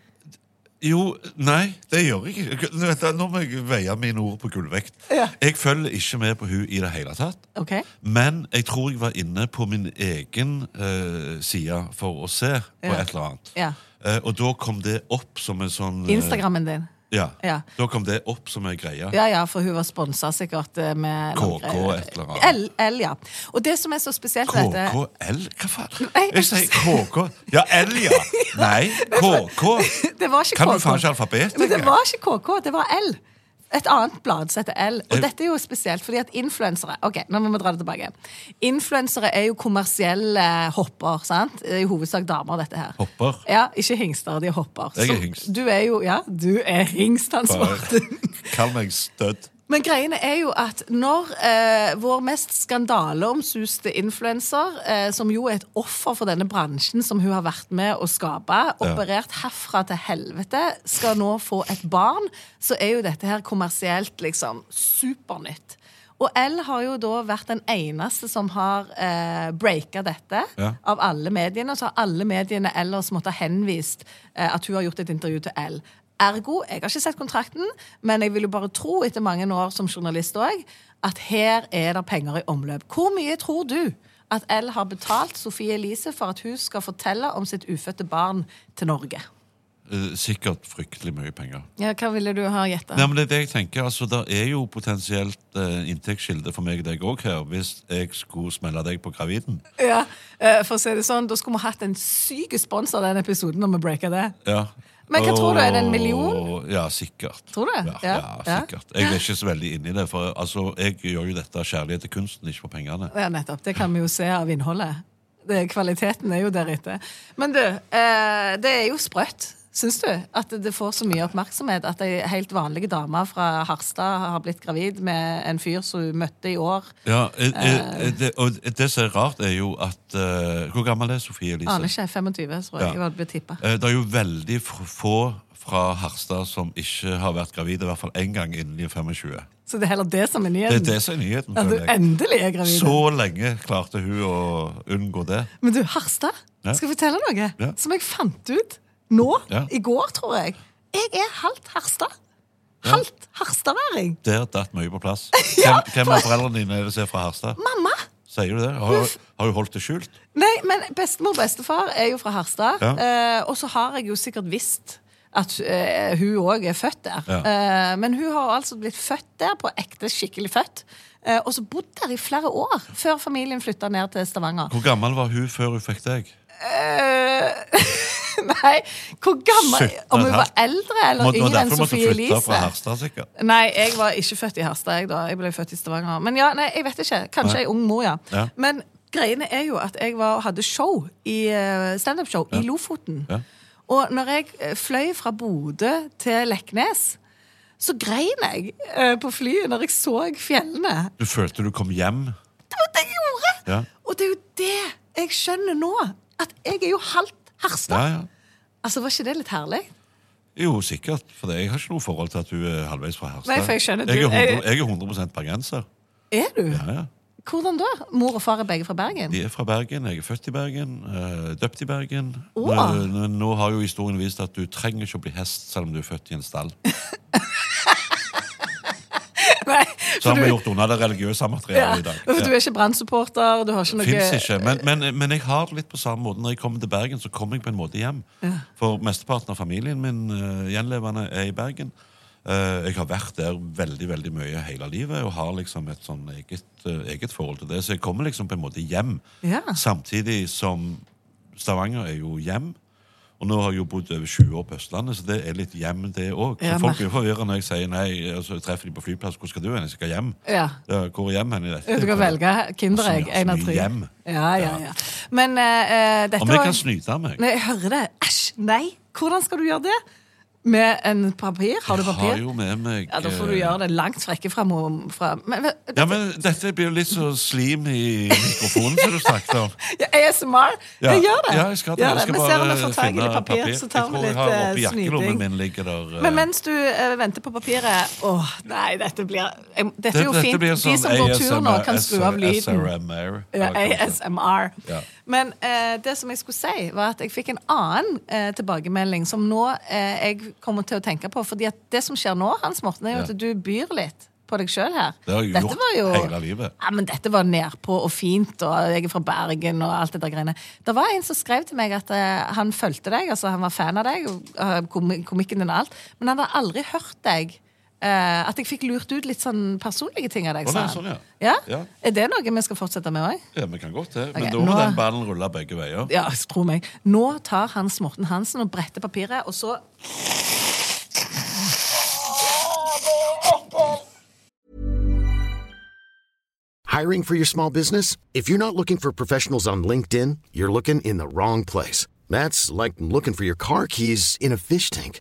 Speaker 2: jo, nei, det gjør jeg ikke. Nå vet jeg- Nå må jeg veie mine ord på gullvekt.
Speaker 3: Ja.
Speaker 2: Jeg følger ikke med på hun i det hele tatt.
Speaker 3: Ok?
Speaker 2: Men jeg tror jeg var inne på min egen eh, side for å se på
Speaker 3: Ja.
Speaker 2: et eller annet.
Speaker 3: Ja.
Speaker 2: Eh, og da kom det opp som en sånn eh,
Speaker 3: Instagrammen din.
Speaker 2: Ja.
Speaker 3: Ja.
Speaker 2: Da kom det opp som ei greie.
Speaker 3: Ja, ja, for hun var sponsa sikkert eh, med
Speaker 2: KK et eller annet.
Speaker 3: L, L, ja. Og det som er så spesielt med dette
Speaker 2: KKL? Hva faen?
Speaker 3: Nei.
Speaker 2: Jeg sier KK. Ja, L,
Speaker 3: [laughs]
Speaker 2: ja. Nei, KK.
Speaker 3: Det var [laughs] ikke
Speaker 2: Kan du
Speaker 3: KK.
Speaker 2: faen ikke alfabet?
Speaker 3: Men det
Speaker 2: jeg?
Speaker 3: var ikke KK, det var L. et annet blad som heter L. Og dette er jo spesielt, fordi at influensere Ok, nå må vi dra det tilbake. Influensere er jo kommersielle hopper, sant? Det er i hovedsak damer, dette her.
Speaker 2: Hopper?
Speaker 3: Ja, ikke hingster, de er hopper.
Speaker 2: Jeg er
Speaker 3: Så
Speaker 2: hingst.
Speaker 3: Du er jo, ja, du er hingst, Hans
Speaker 2: Bare,
Speaker 3: Martin.
Speaker 2: kall meg stødd.
Speaker 3: Men greiene er jo at når eh, vår mest skandaleomsuste influenser, eh, som jo er et offer for denne bransjen som hun har vært med å skape, operert herfra til helvete, skal nå få et barn, så er jo dette her kommersielt liksom supernytt. Og L har jo da vært den eneste som har eh, breaka dette
Speaker 2: Ja.
Speaker 3: av alle mediene. Så har alle mediene ellers måttet ha henvist eh, at hun har gjort et intervju til L. Ergo, jeg har ikke sett kontrakten, men jeg vil jo bare tro etter mange år som journalist òg, at her er det penger i omløp. Hvor mye tror du at L har betalt Sofie Elise for at hun skal fortelle om sitt ufødte barn til Norge?
Speaker 2: Eh, Sikkert fryktelig mye penger.
Speaker 3: Ja, Hva ville du ha gjetta?
Speaker 2: Nei, men det er det jeg tenker. Altså, det er jo potensielt eh, inntektskilde for meg og deg òg her, hvis jeg skulle smelle deg på graviden.
Speaker 3: Ja, eh, for å si det sånn, Da skulle vi hatt en syk spons av den episoden når vi breaker det.
Speaker 2: Ja.
Speaker 3: Men hva tror du, er det en
Speaker 2: Åh,
Speaker 3: million?
Speaker 2: Ja, sikkert.
Speaker 3: Tror du?
Speaker 2: Ja, ja,
Speaker 3: Ja, ja.
Speaker 2: sikkert. Jeg er ikke så veldig inni det, for altså, jeg gjør jo dette av kjærlighet til kunsten, ikke for pengene.
Speaker 3: Ja, nettopp. Det kan vi jo se av innholdet. Det, kvaliteten er jo deretter. Men du, eh, det er jo sprøtt, syns du? At det får så mye oppmerksomhet at ei helt vanlig dame fra Harstad har blitt gravid med en fyr som hun møtte i år.
Speaker 2: Ja, eh, eh, det, og det som er rart, er jo at eh, Hvor gammel er Sofie Elise?
Speaker 3: Aner ikke. 25, tror jeg.
Speaker 2: Ja.
Speaker 3: jeg ble tippet.
Speaker 2: Eh, Det er jo veldig f- få fra Harstad som ikke har vært gravid, i hvert fall én gang innen de er 25.
Speaker 3: Så det er heller det som er
Speaker 2: Det
Speaker 3: nyheten.
Speaker 2: er det som er nyheten.
Speaker 3: At du
Speaker 2: føler jeg.
Speaker 3: endelig er gravid.
Speaker 2: Så lenge klarte hun å unngå det.
Speaker 3: Men du, Harstad,
Speaker 2: Ja.
Speaker 3: skal jeg fortelle noe
Speaker 2: Ja.
Speaker 3: som jeg fant ut nå?
Speaker 2: Ja.
Speaker 3: I går, tror jeg. Jeg er halvt Harstad. Halvt harstadværing.
Speaker 2: Der datt mye på
Speaker 3: [laughs]
Speaker 2: plass.
Speaker 3: Ja,
Speaker 2: Hvem, hvem av foreldrene dine er det som er fra Harstad?
Speaker 3: Mamma!
Speaker 2: Sier du det? Har, har hun holdt det skjult?
Speaker 3: Nei, men bestemor og bestefar er jo fra Harstad.
Speaker 2: Ja.
Speaker 3: Eh, og så har jeg jo sikkert visst at eh, hun òg er født der.
Speaker 2: Ja.
Speaker 3: Eh, men hun har altså blitt født der, på ekte, skikkelig født. Eh, og så bodd der i flere år, før familien flytta ned til Stavanger.
Speaker 2: Hvor gammel var hun før hun fikk deg?
Speaker 3: Eh, [laughs] nei, hvor gammel
Speaker 2: 17,5.
Speaker 3: Om hun var eldre
Speaker 2: Må-
Speaker 3: eller
Speaker 2: det var
Speaker 3: yngre enn
Speaker 2: derfor hun måtte
Speaker 3: Sofie
Speaker 2: flytte
Speaker 3: Elise?
Speaker 2: fra Harstad, sikkert.
Speaker 3: Nei, jeg var ikke født i Harstad. Jeg, da. jeg ble født i Stavanger. Men ja, nei, jeg vet ikke. Kanskje ei ung mor, ja.
Speaker 2: Ja.
Speaker 3: Men greiene er jo at jeg var, hadde show i eh, standup-show i Lofoten.
Speaker 2: Ja.
Speaker 3: Og når jeg eh, fløy fra Bodø til Leknes, så grein jeg eh, på flyet når jeg så fjellene.
Speaker 2: Du følte du kom hjem?
Speaker 3: Det var det jeg gjorde!
Speaker 2: Ja.
Speaker 3: Og det er jo det jeg skjønner nå. At jeg er jo halvt
Speaker 2: Ja,
Speaker 3: Harstad.
Speaker 2: ja.
Speaker 3: Altså, Var ikke det litt herlig?
Speaker 2: Jo, sikkert. For jeg har ikke noe forhold til at hun er halvveis fra Harstad.
Speaker 3: Nei, for jeg skjønner,
Speaker 2: jeg,
Speaker 3: du-
Speaker 2: er 100,
Speaker 3: jeg-
Speaker 2: jeg er 100 bergenser.
Speaker 3: Er du?
Speaker 2: Ja, ja.
Speaker 3: Hvordan da? Mor og far er begge fra Bergen?
Speaker 2: De er fra Bergen. Jeg er født i Bergen. eh, døpt i Bergen.
Speaker 3: Åh.
Speaker 2: Men, eh, Nå har jo historien vist at du trenger ikke å bli hest selv om du er født i en
Speaker 3: [laughs]
Speaker 2: stall.
Speaker 3: [laughs] Nei,
Speaker 2: Så
Speaker 3: for
Speaker 2: har
Speaker 3: du-
Speaker 2: vi gjort unna det religiøse
Speaker 3: Ja,
Speaker 2: materialet i dag.
Speaker 3: for du er ikke Brann-supporter, du har ikke noe
Speaker 2: Fins ikke. Men, men, men jeg har det litt på samme måte. Når jeg kommer til Bergen, så kommer jeg på en måte hjem. For mesteparten av familien min eh, gjenlevende er i Bergen. Eh, jeg har vært der veldig veldig mye hele livet og har liksom et sånn eget, eh, eget forhold til det. Så jeg kommer liksom på en måte hjem.
Speaker 3: Ja.
Speaker 2: Samtidig som Stavanger er jo hjem. Og nå har jeg jo bodd over 20 år på Østlandet, så det er litt hjem, det òg.
Speaker 3: Ja,
Speaker 2: folk blir jo forvirra når jeg sier nei, og så treffer de på flyplass. Hvor skal du hen? Jeg skal hjem.
Speaker 3: Ja.
Speaker 2: Ja, hvor er hjem hen i dette?
Speaker 3: Du kan velge Kinderegg,
Speaker 2: Så mye- så
Speaker 3: én av
Speaker 2: mye
Speaker 3: tre.
Speaker 2: Hjem.
Speaker 3: Ja, ja, ja. Men eh, eh, dette
Speaker 2: Om jeg
Speaker 3: var-
Speaker 2: kan snyte av meg?
Speaker 3: Nei, jeg hører det. Æsj, nei! Hvordan skal du gjøre det? Med en papir? Har du
Speaker 2: Jeg
Speaker 3: papir?
Speaker 2: har jo med meg
Speaker 3: Ja, Da får du
Speaker 2: eh,
Speaker 3: gjøre det langt vekke fra mor fra men, men,
Speaker 2: Ja, men Dette blir jo litt så slim i mikrofonen som du snakket
Speaker 3: [laughs]
Speaker 2: om.
Speaker 3: Ja, ASMR?
Speaker 2: Ja,
Speaker 3: Jeg gjør det.
Speaker 2: Ja, jeg skal, det.
Speaker 3: Gjør
Speaker 2: Jeg skal
Speaker 3: Vi ser om vi får tak i
Speaker 2: finne
Speaker 3: litt papir, så tar vi
Speaker 2: Jeg tror jeg
Speaker 3: litt eh,
Speaker 2: har oppi jakkelommen
Speaker 3: snyting.
Speaker 2: min ligger der eh,
Speaker 3: Men mens du eh, venter på papiret Åh, nei, dette blir jeg- Dette er jo
Speaker 2: dette
Speaker 3: fint.
Speaker 2: blir
Speaker 3: De
Speaker 2: sånn
Speaker 3: som går tur nå,
Speaker 2: ASMR,
Speaker 3: kan skru av lyden.
Speaker 2: SRMR,
Speaker 3: Ja,
Speaker 2: eller hva det heter.
Speaker 3: ASMR.
Speaker 2: Ja.
Speaker 3: Men eh, det som jeg skulle si, var at jeg fikk en annen eh, tilbakemelding som nå eh, jeg kommer til å tenke på. fordi at det som skjer nå, Hans Morten, er jo
Speaker 2: Ja.
Speaker 3: at du byr litt på deg sjøl her.
Speaker 2: Det har jeg gjort hele livet.
Speaker 3: Ja, men dette var nedpå og fint, og jeg er fra Bergen og alt det der greiene. Det var en som skrev til meg at eh, han fulgte deg, altså han var fan av deg, og, eh, komi- komikken din og alt, men han hadde aldri hørt deg. eh, at jeg fikk lurt ut litt sånn personlige ting av deg.
Speaker 2: Å, nei,
Speaker 3: sa han.
Speaker 2: sånn,
Speaker 3: ja.
Speaker 2: ja. Ja.
Speaker 3: Er det noe vi skal fortsette med òg?
Speaker 2: Ja, vi kan godt det. Men
Speaker 3: Ok,
Speaker 2: da må
Speaker 3: nå-
Speaker 2: den ballen rulle begge veier.
Speaker 3: Ja, tro meg. Nå tar Hans Morten Hansen og bretter papiret, og så
Speaker 4: Hiring for your small business? If you're not looking for professionals on LinkedIn, you're looking in the wrong place. That's like looking for your car keys in a fish tank.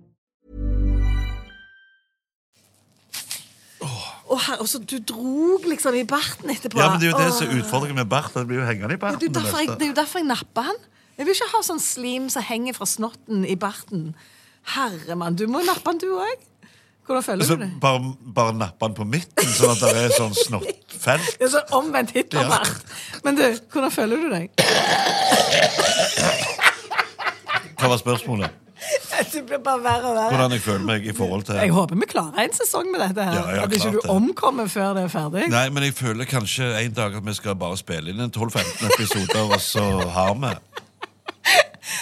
Speaker 3: Å, herre, og så du drog liksom i barten etterpå.
Speaker 2: Ja, men Det er jo det
Speaker 3: Åh.
Speaker 2: som er utfordringen med bart. Det blir jo hengende i
Speaker 3: Ja,
Speaker 2: barten. altså.
Speaker 3: det, er jo derfor jeg, det er jo derfor jeg napper han. Jeg vil ikke ha sånn slim som henger fra snotten i barten. Herre mann, du må jo nappe han du òg. Hvordan føler
Speaker 2: Så
Speaker 3: du det?
Speaker 2: bare, bare nappe den på midten, sånn at det er sånn snottfelt.
Speaker 3: Det er sånn omvendt Hitler-bart. Men du, hvordan føler du deg?
Speaker 2: Hva var spørsmålet?
Speaker 3: [laughs] Det blir bare verre og verre.
Speaker 2: Hvordan jeg føler meg i forhold til
Speaker 3: Jeg håper vi klarer en sesong med dette her.
Speaker 2: Ja, ja,
Speaker 3: At ikke
Speaker 2: klart
Speaker 3: du
Speaker 2: det.
Speaker 3: omkommer før det er ferdig.
Speaker 2: Nei, men jeg føler kanskje en dag at vi skal bare spille inn en 12-15 episoder, og så har vi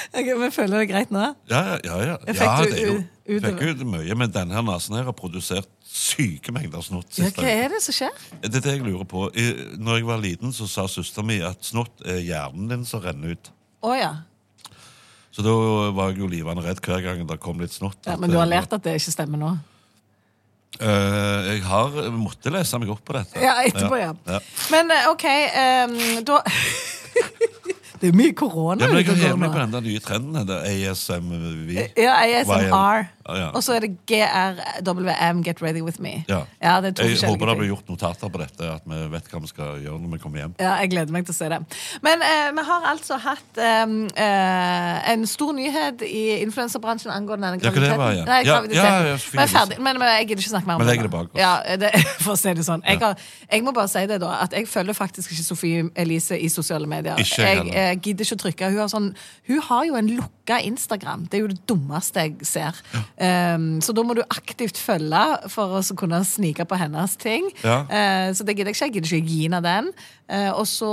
Speaker 3: Ok, men føler du det greit nå?
Speaker 2: Ja, ja, ja. ja.
Speaker 3: Jeg fikk
Speaker 2: ja
Speaker 3: jo
Speaker 2: det er jo,
Speaker 3: u-
Speaker 2: fikk jo mye, men denne her nesen her har produsert syke mengder snott.
Speaker 3: Ja,
Speaker 2: siste
Speaker 3: hva
Speaker 2: uka.
Speaker 3: er det som skjer?
Speaker 2: Det er det jeg lurer på. I- Når jeg var liten, så sa søsteren min at snott er hjernen din som renner ut.
Speaker 3: Å ja.
Speaker 2: Så da var jeg jo livende redd hver gang det kom litt snott.
Speaker 3: ja.
Speaker 2: At,
Speaker 3: Men du har
Speaker 2: eh,
Speaker 3: lært at det ikke stemmer nå?
Speaker 2: eh, jeg har måtte lese meg opp på dette.
Speaker 3: Ja, etterpå, ja.
Speaker 2: Ja.
Speaker 3: Men eh, OK, eh, da [laughs] Det er mye korona
Speaker 2: Ja, men jeg
Speaker 3: ute
Speaker 2: kan
Speaker 3: og
Speaker 2: heve
Speaker 3: går
Speaker 2: meg
Speaker 3: nå.
Speaker 2: på den der nye trenden. den der ASMV.
Speaker 3: Ja, ASMR.
Speaker 2: Ja, ja.
Speaker 3: Og så er det GRWM, Get Ready With Me.
Speaker 2: Ja.
Speaker 3: Ja, det er to
Speaker 2: jeg
Speaker 3: forskjellige
Speaker 2: håper det
Speaker 3: ting.
Speaker 2: blir gjort notater på dette, at vi vet hva vi skal gjøre når vi kommer hjem.
Speaker 3: Ja, jeg gleder meg til å se det. Men eh, vi har altså hatt em, eh, en stor nyhet i influenserbransjen angående den
Speaker 2: Ja, hva det var
Speaker 3: graviditeten.
Speaker 2: igjen?
Speaker 3: Nei,
Speaker 2: Ja,
Speaker 3: graviditeten.
Speaker 2: ja, ja, så fikk
Speaker 3: Men jeg er
Speaker 2: jeg
Speaker 3: ferdig. Men, men jeg gidder ikke snakke mer om
Speaker 2: Men
Speaker 3: det.
Speaker 2: legger det
Speaker 3: nå.
Speaker 2: bak oss.
Speaker 3: Ja, det, [laughs] for å si det sånn. Jeg, har, jeg må bare si det, da, at jeg følger faktisk ikke Sofie Elise i sosiale medier.
Speaker 2: Ikke jeg
Speaker 3: jeg
Speaker 2: heller.
Speaker 3: eh, gidder ikke å trykke. Hun har, sånn, hun har jo en lukka Instagram. Det er jo det dummeste jeg ser. Em, så da må du aktivt følge for å så kunne snike på hennes ting.
Speaker 2: Ja.
Speaker 3: Eh, Så det gidder jeg ikke. Jeg gidder ikke å gi henne den. Eh, Og så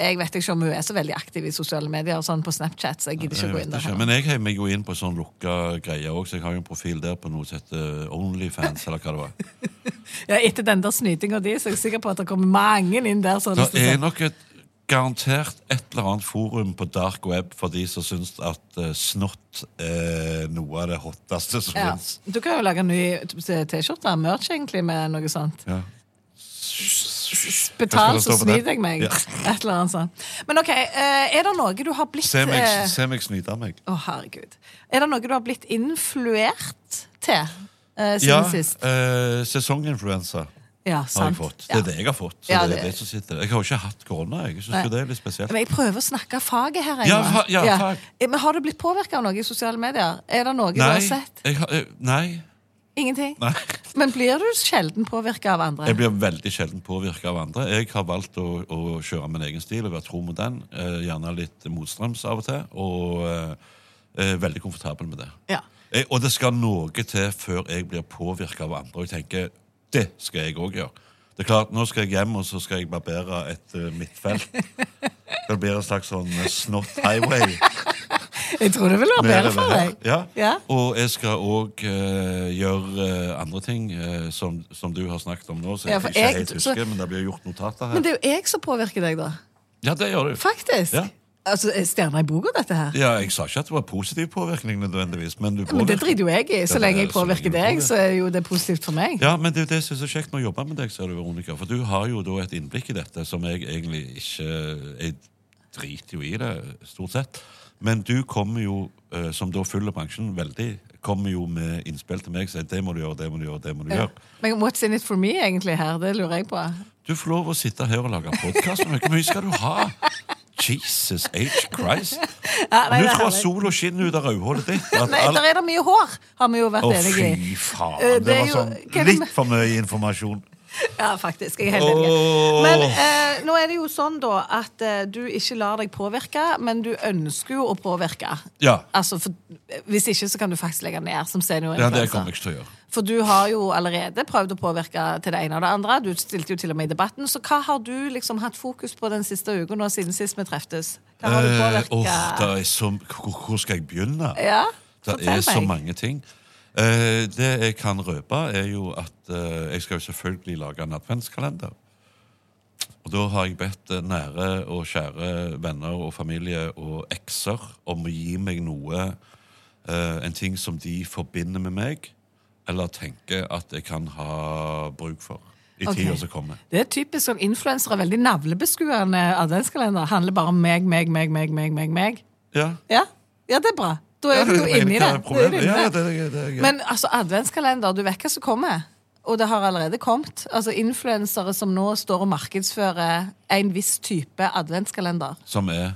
Speaker 3: Jeg vet ikke om hun er så veldig aktiv i sosiale medier, sånn på Snapchat, så jeg gidder ikke
Speaker 2: Jeg
Speaker 3: å gå
Speaker 2: vet
Speaker 3: inn der.
Speaker 2: ikke,
Speaker 3: heller.
Speaker 2: men jeg heier meg jo inn på sånn lukka greie òg, så jeg har jo en profil der på noe som heter eh, Onlyfans, eller hva det var.
Speaker 3: [laughs] Ja, etter den der snytinga di, så er jeg sikker på at det kommer mange inn der. sånn, Så har lyst
Speaker 2: Det
Speaker 3: til å
Speaker 2: er
Speaker 3: se.
Speaker 2: nok et garantert et eller annet forum på dark web for de som syns at eh, snott er noe av det hotteste som
Speaker 3: ja.
Speaker 2: fins.
Speaker 3: Du kan jo lage en ny t- T-skjorte, merch, egentlig, med noe sånt.
Speaker 2: Ja.
Speaker 3: Betal,
Speaker 2: Hva skal
Speaker 3: så
Speaker 2: det stå på det?
Speaker 3: snyter jeg meg.
Speaker 2: Ja.
Speaker 3: [laughs] Et eller annet sånt. Men OK, eh, er det noe du har blitt
Speaker 2: Se meg,
Speaker 3: eh,
Speaker 2: se meg snyte meg.
Speaker 3: Å, herregud. Er det noe du har blitt influert til eh, siden
Speaker 2: Ja,
Speaker 3: sist?
Speaker 2: eh, sesonginfluensa.
Speaker 3: Ja,
Speaker 2: har jeg
Speaker 3: sant.
Speaker 2: fått. Det
Speaker 3: Ja.
Speaker 2: er det jeg har fått. Så
Speaker 3: Ja,
Speaker 2: det er
Speaker 3: det-
Speaker 2: det som sitter. Jeg har jo ikke hatt korona. Jeg synes jo det er litt spesielt.
Speaker 3: Men jeg prøver å snakke faget her. jeg
Speaker 2: Ja,
Speaker 3: nå.
Speaker 2: fa- ja, fag.
Speaker 3: Eh, Men Har du blitt påvirka av noe i sosiale medier? Er det noe du
Speaker 2: Nei,
Speaker 3: har sett?
Speaker 2: jeg har, eh, nei,
Speaker 3: Ingenting?
Speaker 2: nei.
Speaker 3: Men blir du sjelden påvirka av andre?
Speaker 2: Jeg blir veldig sjelden påvirka av andre. Jeg har valgt å, å kjøre min egen stil og være tro mot den. Eh, gjerne litt motstrøms av og til. Og eh, er veldig komfortabel med det.
Speaker 3: Ja.
Speaker 2: Jeg, og det skal noe til før jeg blir påvirka av andre. Og jeg tenker det skal jeg òg gjøre. Det er klart, Nå skal jeg hjem og så skal jeg barbere et eh, midtfelt. Det blir en slags sånn eh, snott highway.
Speaker 3: Jeg tror det vil være bedre for
Speaker 2: Nedover her.
Speaker 3: deg.
Speaker 2: Ja.
Speaker 3: Ja.
Speaker 2: Og jeg skal òg gjøre eh, andre ting eh, som, som du har snakket om nå. Så
Speaker 3: Ja,
Speaker 2: jeg
Speaker 3: for
Speaker 2: ikke
Speaker 3: jeg-
Speaker 2: helt
Speaker 3: så-
Speaker 2: husker, men det blir gjort notater
Speaker 3: Men
Speaker 2: her.
Speaker 3: det er jo jeg som påvirker deg, da.
Speaker 2: Ja, det gjør du.
Speaker 3: Faktisk.
Speaker 2: Ja.
Speaker 3: Altså, er Stjerna i boka, dette her.
Speaker 2: Ja, Jeg sa ikke at det var positiv påvirkning, nødvendigvis. Men, du
Speaker 3: Men det
Speaker 2: påvirker.
Speaker 3: driter jo jeg i. Så
Speaker 2: Ja,
Speaker 3: lenge jeg
Speaker 2: det- så lenge
Speaker 3: påvirker
Speaker 2: du
Speaker 3: deg, så er jo det positivt for meg.
Speaker 2: Ja, men det er jo det som er så kjekt med å jobbe med deg, ser du, Veronica. For du har jo da et innblikk i dette som jeg egentlig ikke Jeg driter jo i det, stort sett. Men du kommer jo, eh, som da følger bransjen veldig, kommer jo med innspill til meg og sier det må du gjøre, det må du gjøre, det må du gjøre.
Speaker 3: Men what's in it for me, egentlig, her? Det lurer jeg på.
Speaker 2: Du får lov å sitte her og lage podkast. Hvor mye skal du ha? Jesus H. Christ.
Speaker 3: Ja, nei,
Speaker 2: Du
Speaker 3: det er
Speaker 2: tror
Speaker 3: herlig.
Speaker 2: sola skinner ut av rødhålet ditt? At
Speaker 3: Nei,
Speaker 2: alle-
Speaker 3: der er det mye hår, har vi jo vært
Speaker 2: Å,
Speaker 3: enige i.
Speaker 2: fy faen.
Speaker 3: Eh,
Speaker 2: Det
Speaker 3: er
Speaker 2: var
Speaker 3: jo- hva er
Speaker 2: sånn
Speaker 3: det
Speaker 2: litt
Speaker 3: med-
Speaker 2: for mye informasjon.
Speaker 3: Ja, faktisk. Jeg er helt enig.
Speaker 2: Åh.
Speaker 3: Men eh, nå er det jo sånn, da, at eh, du ikke lar deg påvirke, men du ønsker jo å påvirke.
Speaker 2: Ja.
Speaker 3: Altså, for, hvis ikke så kan du faktisk legge ned som
Speaker 2: Ja, det
Speaker 3: seniorinfluenser.
Speaker 2: kommer jeg ikke til å gjøre.
Speaker 3: For du har jo allerede prøvd å påvirke til det ene og det andre. Du stilte jo til og med i debatten. Så hva har du liksom hatt fokus på den siste uka nå siden sist vi treftes? Hva har du
Speaker 2: Eh,
Speaker 3: påvirket?
Speaker 2: åh, det er så, hvor, hvor skal jeg begynne?
Speaker 3: Ja,
Speaker 2: Det
Speaker 3: fortell
Speaker 2: er så
Speaker 3: meg.
Speaker 2: mange ting. Eh, det jeg kan røpe, er jo at eh, jeg skal jo selvfølgelig lage en adventskalender. Og da har jeg bedt eh, nære og kjære venner og familie og ekser om å gi meg noe eh, En ting som de forbinder med meg, eller tenker at jeg kan ha bruk for i
Speaker 3: Ok.
Speaker 2: tida som kommer.
Speaker 3: Det er typisk sånn influensere. Veldig navlebeskuende adventskalender. Handler bare om meg, meg, meg, meg, meg, meg. meg.
Speaker 2: Ja.
Speaker 3: Ja, ja det er bra. Da er
Speaker 2: Ja,
Speaker 3: du jo
Speaker 2: jeg
Speaker 3: inni
Speaker 2: vet hva
Speaker 3: det.
Speaker 2: er
Speaker 3: Da er du
Speaker 2: problemet. Ja,
Speaker 3: inni
Speaker 2: ja,
Speaker 3: det.
Speaker 2: det, det, det, det.
Speaker 3: Men altså, adventskalender, du vet hva som kommer. Og det har allerede kommet. Altså Influensere som nå står og markedsfører en viss type adventskalender
Speaker 2: Som er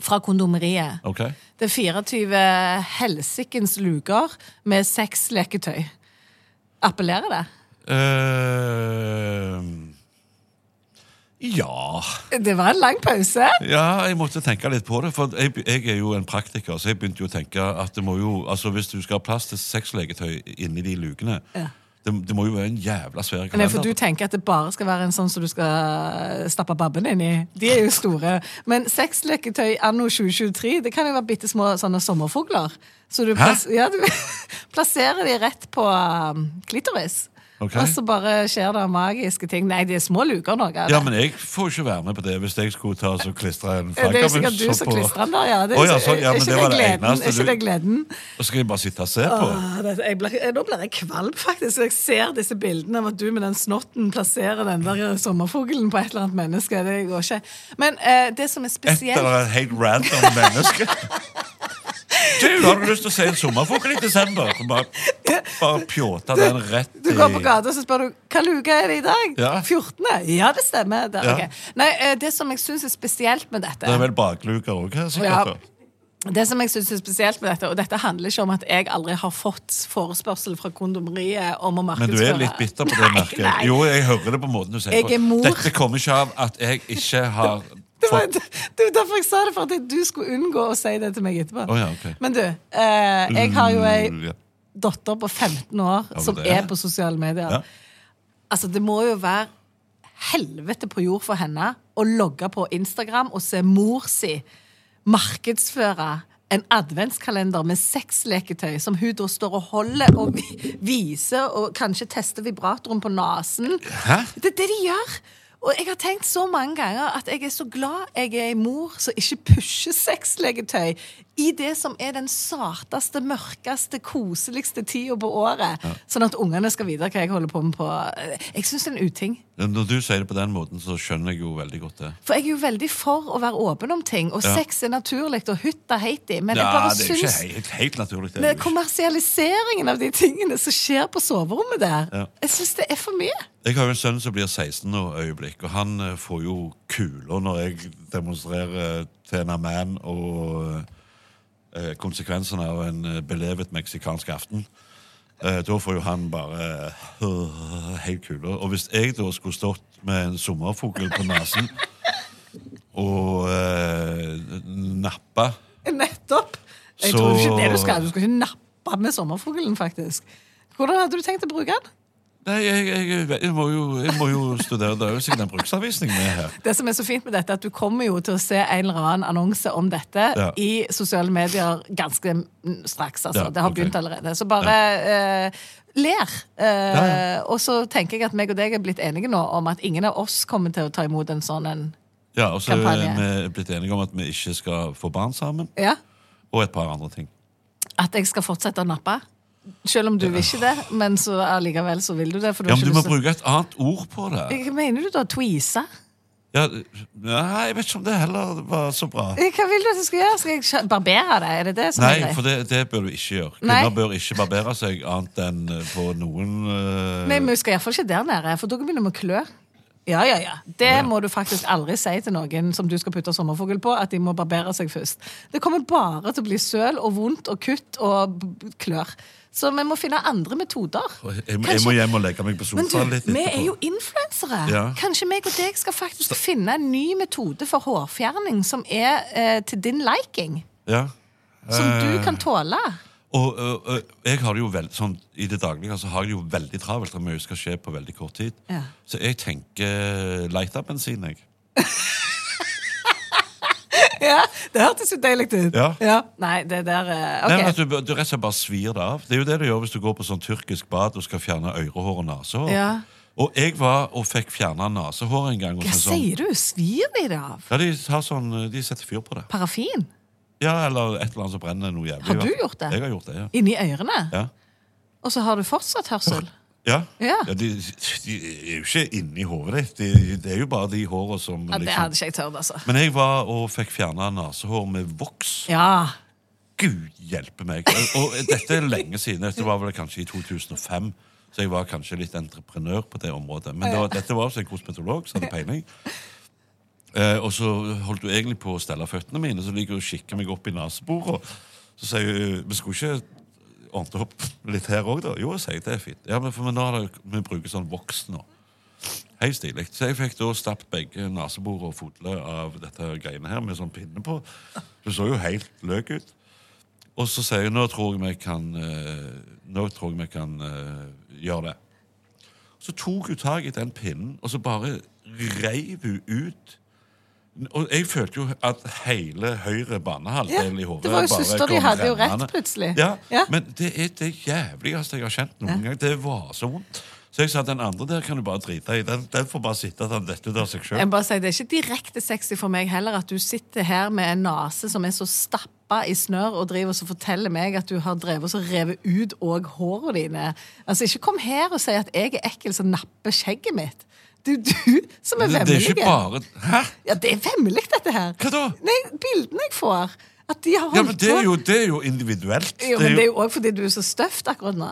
Speaker 3: fra kondomeriet.
Speaker 2: OK?
Speaker 3: Det er 24 helsikens luker med seks leketøy. Appellerer det?
Speaker 2: Eh, ja
Speaker 3: Det var en lang pause.
Speaker 2: Ja, jeg måtte tenke litt på det. For jeg, jeg er jo en praktiker, så jeg begynte jo å tenke at det må jo Altså, hvis du skal ha plass til seks leketøy inni de lukene, det, det må jo være en jævla svær
Speaker 3: Nei, for
Speaker 2: kalender.
Speaker 3: Du tenker at det bare skal være en sånn som du skal stappe babben inn i. De er jo store. Men seks leketøy anno 2023, det kan jo være bitte små sånne sommerfugler. Så du, plass, ja, du [laughs] plasserer de rett på um, klitoris.
Speaker 2: Ok.
Speaker 3: Og så bare skjer det magiske ting. Nei, de er små luker, noe. av det.
Speaker 2: Ja, men jeg får ikke være med på det hvis jeg skulle ta og så klistre
Speaker 3: [laughs]
Speaker 2: en
Speaker 3: det er jo
Speaker 2: flaggermus
Speaker 3: sikkert du
Speaker 2: opp
Speaker 3: som
Speaker 2: på-
Speaker 3: klistrer den der, ja. Det,
Speaker 2: Å, ja, sånn, ja,
Speaker 3: er
Speaker 2: men
Speaker 3: ikke
Speaker 2: det
Speaker 3: det,
Speaker 2: var det
Speaker 3: gleden?
Speaker 2: eneste
Speaker 3: er ikke
Speaker 2: du-
Speaker 3: det gleden?
Speaker 2: Og skal jeg bare sitte og se på?
Speaker 3: Åh, Ah, det, jeg blir, jeg, nå blir jeg kvalm, faktisk. Jeg ser disse bildene av at du med den snotten plasserer den der sommerfuglen på et eller annet menneske. Det går ikke. Men eh, det som er
Speaker 2: Et
Speaker 3: spesielt
Speaker 2: eller annet helt random
Speaker 3: [laughs]
Speaker 2: menneske? Du, har du lyst til å se en sommerfugl i desember? Og Bare, bare pjåte den rett i
Speaker 3: Du går på gata og så spør du, hva luke er det i dag.
Speaker 2: Ja.
Speaker 3: 14. Ja, det stemmer. Det,
Speaker 2: Ja.
Speaker 3: ok. Nei, eh, det som jeg syns er spesielt med dette
Speaker 2: Det er vel bakluker òg her,
Speaker 3: Ja.
Speaker 2: sikkert. da.
Speaker 3: Det som jeg synes er spesielt med dette, og dette handler ikke om at jeg aldri har fått forespørsel fra kondomeriet om å
Speaker 2: Men du
Speaker 3: markedsføre
Speaker 2: er litt bitter på det, merker
Speaker 3: [laughs] Nei, nei.
Speaker 2: jeg. Jo, jeg hører det på måten du sier
Speaker 3: Jeg
Speaker 2: på.
Speaker 3: er mor.
Speaker 2: Dette kommer ikke av at jeg ikke har
Speaker 3: [laughs] Det var,
Speaker 2: fått
Speaker 3: det var derfor jeg sa det, for at du skulle unngå å si det til meg etterpå.
Speaker 2: Å ja, ok.
Speaker 3: Men du, eh, jeg har jo ei
Speaker 2: Ja.
Speaker 3: datter på 15 år
Speaker 2: men
Speaker 3: som
Speaker 2: det er
Speaker 3: er
Speaker 2: det.
Speaker 3: på sosiale medier.
Speaker 2: Ja.
Speaker 3: Altså, det må jo være helvete på jord for henne å logge på Instagram og se mor si markedsføre en adventskalender med seks leketøy som hun da står og holder og vi- viser, og kanskje tester vibratoren på nesen.
Speaker 2: Hæ?
Speaker 3: Det er det de gjør. Og jeg har tenkt så mange ganger at jeg er så glad jeg er en mor som ikke pusher sexleketøy i det som er den sarteste, mørkeste, koseligste tida på året. Sånn at ungene skal vite hva jeg holder på med på Jeg syns det er en uting.
Speaker 2: Når du sier det på den måten, så skjønner jeg jo veldig godt det.
Speaker 3: For jeg er jo veldig for å være åpen om ting, og
Speaker 2: Ja.
Speaker 3: sex er naturlig og hytta heiti, men jeg
Speaker 2: Ja,
Speaker 3: bare
Speaker 2: det er jo ikke
Speaker 3: syns
Speaker 2: helt, helt naturlig. Det er
Speaker 3: men
Speaker 2: jo ikke.
Speaker 3: kommersialiseringen av de tingene som skjer på soverommet der,
Speaker 2: Ja.
Speaker 3: jeg syns det er for mye.
Speaker 2: Jeg har jo en sønn som blir 16 nå øyeblikk, og han eh, får jo kuler når jeg demonstrerer eh, til en man og eh, konsekvensene av en eh, belevet meksikansk aften. Eh, da får jo han bare eh, [sniffs] helt kuler. Og hvis jeg da skulle stått med en sommerfugl på nesen og eh, nappa
Speaker 3: Nettopp. Jeg
Speaker 2: Så-
Speaker 3: tror ikke det du skal. Du skal ikke nappe med sommerfuglen, faktisk. Hvordan hadde du tenkt å bruke den?
Speaker 2: Nei, jeg, jeg, jeg, må jo, jeg må jo studere. Det er jo sikkert en bruksanvisning med her.
Speaker 3: Det som er så fint med dette, er at du kommer jo til å se en eller annen annonse om dette
Speaker 2: Ja.
Speaker 3: i sosiale medier ganske mm, straks, altså.
Speaker 2: Ja,
Speaker 3: det har
Speaker 2: ok.
Speaker 3: begynt allerede. Så bare eh, ler. Eh,
Speaker 2: Ja,
Speaker 3: Og så tenker jeg at meg og deg er blitt enige nå om at ingen av oss kommer til å ta imot en sånn en.
Speaker 2: Ja, Og så er
Speaker 3: Kampanje.
Speaker 2: vi blitt enige om at vi ikke skal få barn sammen.
Speaker 3: Ja?
Speaker 2: Og et par andre ting.
Speaker 3: At jeg skal fortsette å nappe. Selv om du vil ikke det, men så allikevel så vil du det. For du
Speaker 2: Ja,
Speaker 3: har
Speaker 2: men Du må
Speaker 3: ikke lyst til-
Speaker 2: bruke et annet ord på det.
Speaker 3: Hva mener du da? Tweese?
Speaker 2: Ja, nei, Jeg vet ikke om det heller var så bra.
Speaker 3: Eh, Hva vil du at jeg skal gjøre? Skal jeg skje- barbere deg? Er det det som er
Speaker 2: Nei,
Speaker 3: greit?
Speaker 2: for det, det bør du ikke gjøre.
Speaker 3: Nei.
Speaker 2: Kvinner bør ikke barbere seg annet enn eh, på noen eh,
Speaker 3: Nei, men vi skal iallfall ikke der nede, for da begynner vi å klø. Ja, ja, ja. Det må du faktisk aldri si til noen som du skal putte sommerfugl på, at de må barbere seg først. Det kommer bare til å bli søl og vondt og kutt og b- klør. Så vi må finne andre metoder.
Speaker 2: Jeg, jeg, må- jeg må hjem og legge meg på
Speaker 3: Men du,
Speaker 2: sofaen litt
Speaker 3: vi er jo influensere.
Speaker 2: Ja.
Speaker 3: Kanskje meg og deg skal faktisk finne en ny metode for hårfjerning som er eh, til din liking.
Speaker 2: Ja.
Speaker 3: Som
Speaker 2: Eh.
Speaker 3: du kan tåle.
Speaker 2: Og, og, og jeg har det jo veldig sånn, I det daglige så har jeg det jo veldig travelt. og Mye skal skje på veldig kort tid.
Speaker 3: Ja.
Speaker 2: Så jeg tenker lighterbensin, jeg.
Speaker 3: [laughs] Ja, Det hørtes jo deilig ut.
Speaker 2: Ja.
Speaker 3: Nei, det der eh,
Speaker 2: Nei, men
Speaker 3: OK.
Speaker 2: at du, bør- du rett og slett bare svir det av. Det er jo det du gjør hvis du går på sånn tyrkisk bad og skal fjerne ørehår og nesehår.
Speaker 3: Ja.
Speaker 2: Og jeg var og fikk fjerna nesehår en gang. hos
Speaker 3: Hva
Speaker 2: en sånn,
Speaker 3: sier du? Svir de det av?
Speaker 2: ja, de, har sånn, de setter fyr på det.
Speaker 3: Parafin?
Speaker 2: Ja, Eller et eller annet som brenner noe jævlig.
Speaker 3: Har
Speaker 2: i
Speaker 3: du
Speaker 2: hvert fall.
Speaker 3: gjort det?
Speaker 2: Jeg har gjort det, ja.
Speaker 3: Inni ørene?
Speaker 2: Ja.
Speaker 3: Og så har du
Speaker 2: [laughs]
Speaker 3: fortsatt hørsel?
Speaker 2: Ja.
Speaker 3: Ja.
Speaker 2: de, de er jo ikke inni hodet ditt. De, det er jo bare de håra som
Speaker 3: Ja, Det
Speaker 2: liksom-
Speaker 3: hadde ikke jeg tørt, altså.
Speaker 2: Men jeg var og fikk fjerna nesehår med voks.
Speaker 3: Ja.
Speaker 2: Gud hjelpe meg! Og dette er lenge siden. Dette var vel kanskje i 2005. Så jeg var kanskje litt entreprenør på det området. Men det var, dette var også en kosmetolog som hadde peiling. Eh, og så holdt hun egentlig på å stelle føttene mine, så ligger hun og kikker meg opp i neseborene. Så sier hun Vi skulle ikke ordne opp litt her òg, da? Jo, sier jeg. Det er fint. Ja, men, for, men nå har det, vi bruker sånn voks nå. Hei, stilig. Så jeg fikk da stappet begge nesebor og fodle av dette greiene her med sånn pinne på. Det så jo helt løk ut. Og så sier jeg nå tror jeg vi kan, eh, nå tror jeg vi kan eh, gjøre det. Så tok hun tak i den pinnen, og så bare reiv hun ut. Og jeg følte jo at hele høyre banehalvdel
Speaker 3: Ja,
Speaker 2: i hodet
Speaker 3: det var jo
Speaker 2: bare
Speaker 3: søster, de
Speaker 2: kom
Speaker 3: hadde jo rett
Speaker 2: rennende.
Speaker 3: plutselig.
Speaker 2: Ja,
Speaker 3: Ja.
Speaker 2: Men det er det jævligste jeg har kjent noen gang. Det var så vondt. Så jeg sa den andre der kan du bare drite i. Den, den får bare sitte og dette ut av seg
Speaker 3: Jeg
Speaker 2: sjøl.
Speaker 3: må bare si, Det er ikke direkte sexy for meg heller at du sitter her med en nese som er så stappa i snørr, og driver og så forteller meg at du har drevet og revet ut òg hårene dine. Altså, Ikke kom her og si at jeg er ekkel som napper skjegget mitt. Det er jo du som er
Speaker 2: Det, det er
Speaker 3: vemmelig.
Speaker 2: ikke bare Hæ?
Speaker 3: Ja, det er vemmelig, dette her.
Speaker 2: Hva da?
Speaker 3: Nei, Bildene jeg får. At de har holdt
Speaker 2: Ja, men det er
Speaker 3: på.
Speaker 2: jo, det er jo individuelt.
Speaker 3: Jo, men det er jo òg fordi du er så støft akkurat nå.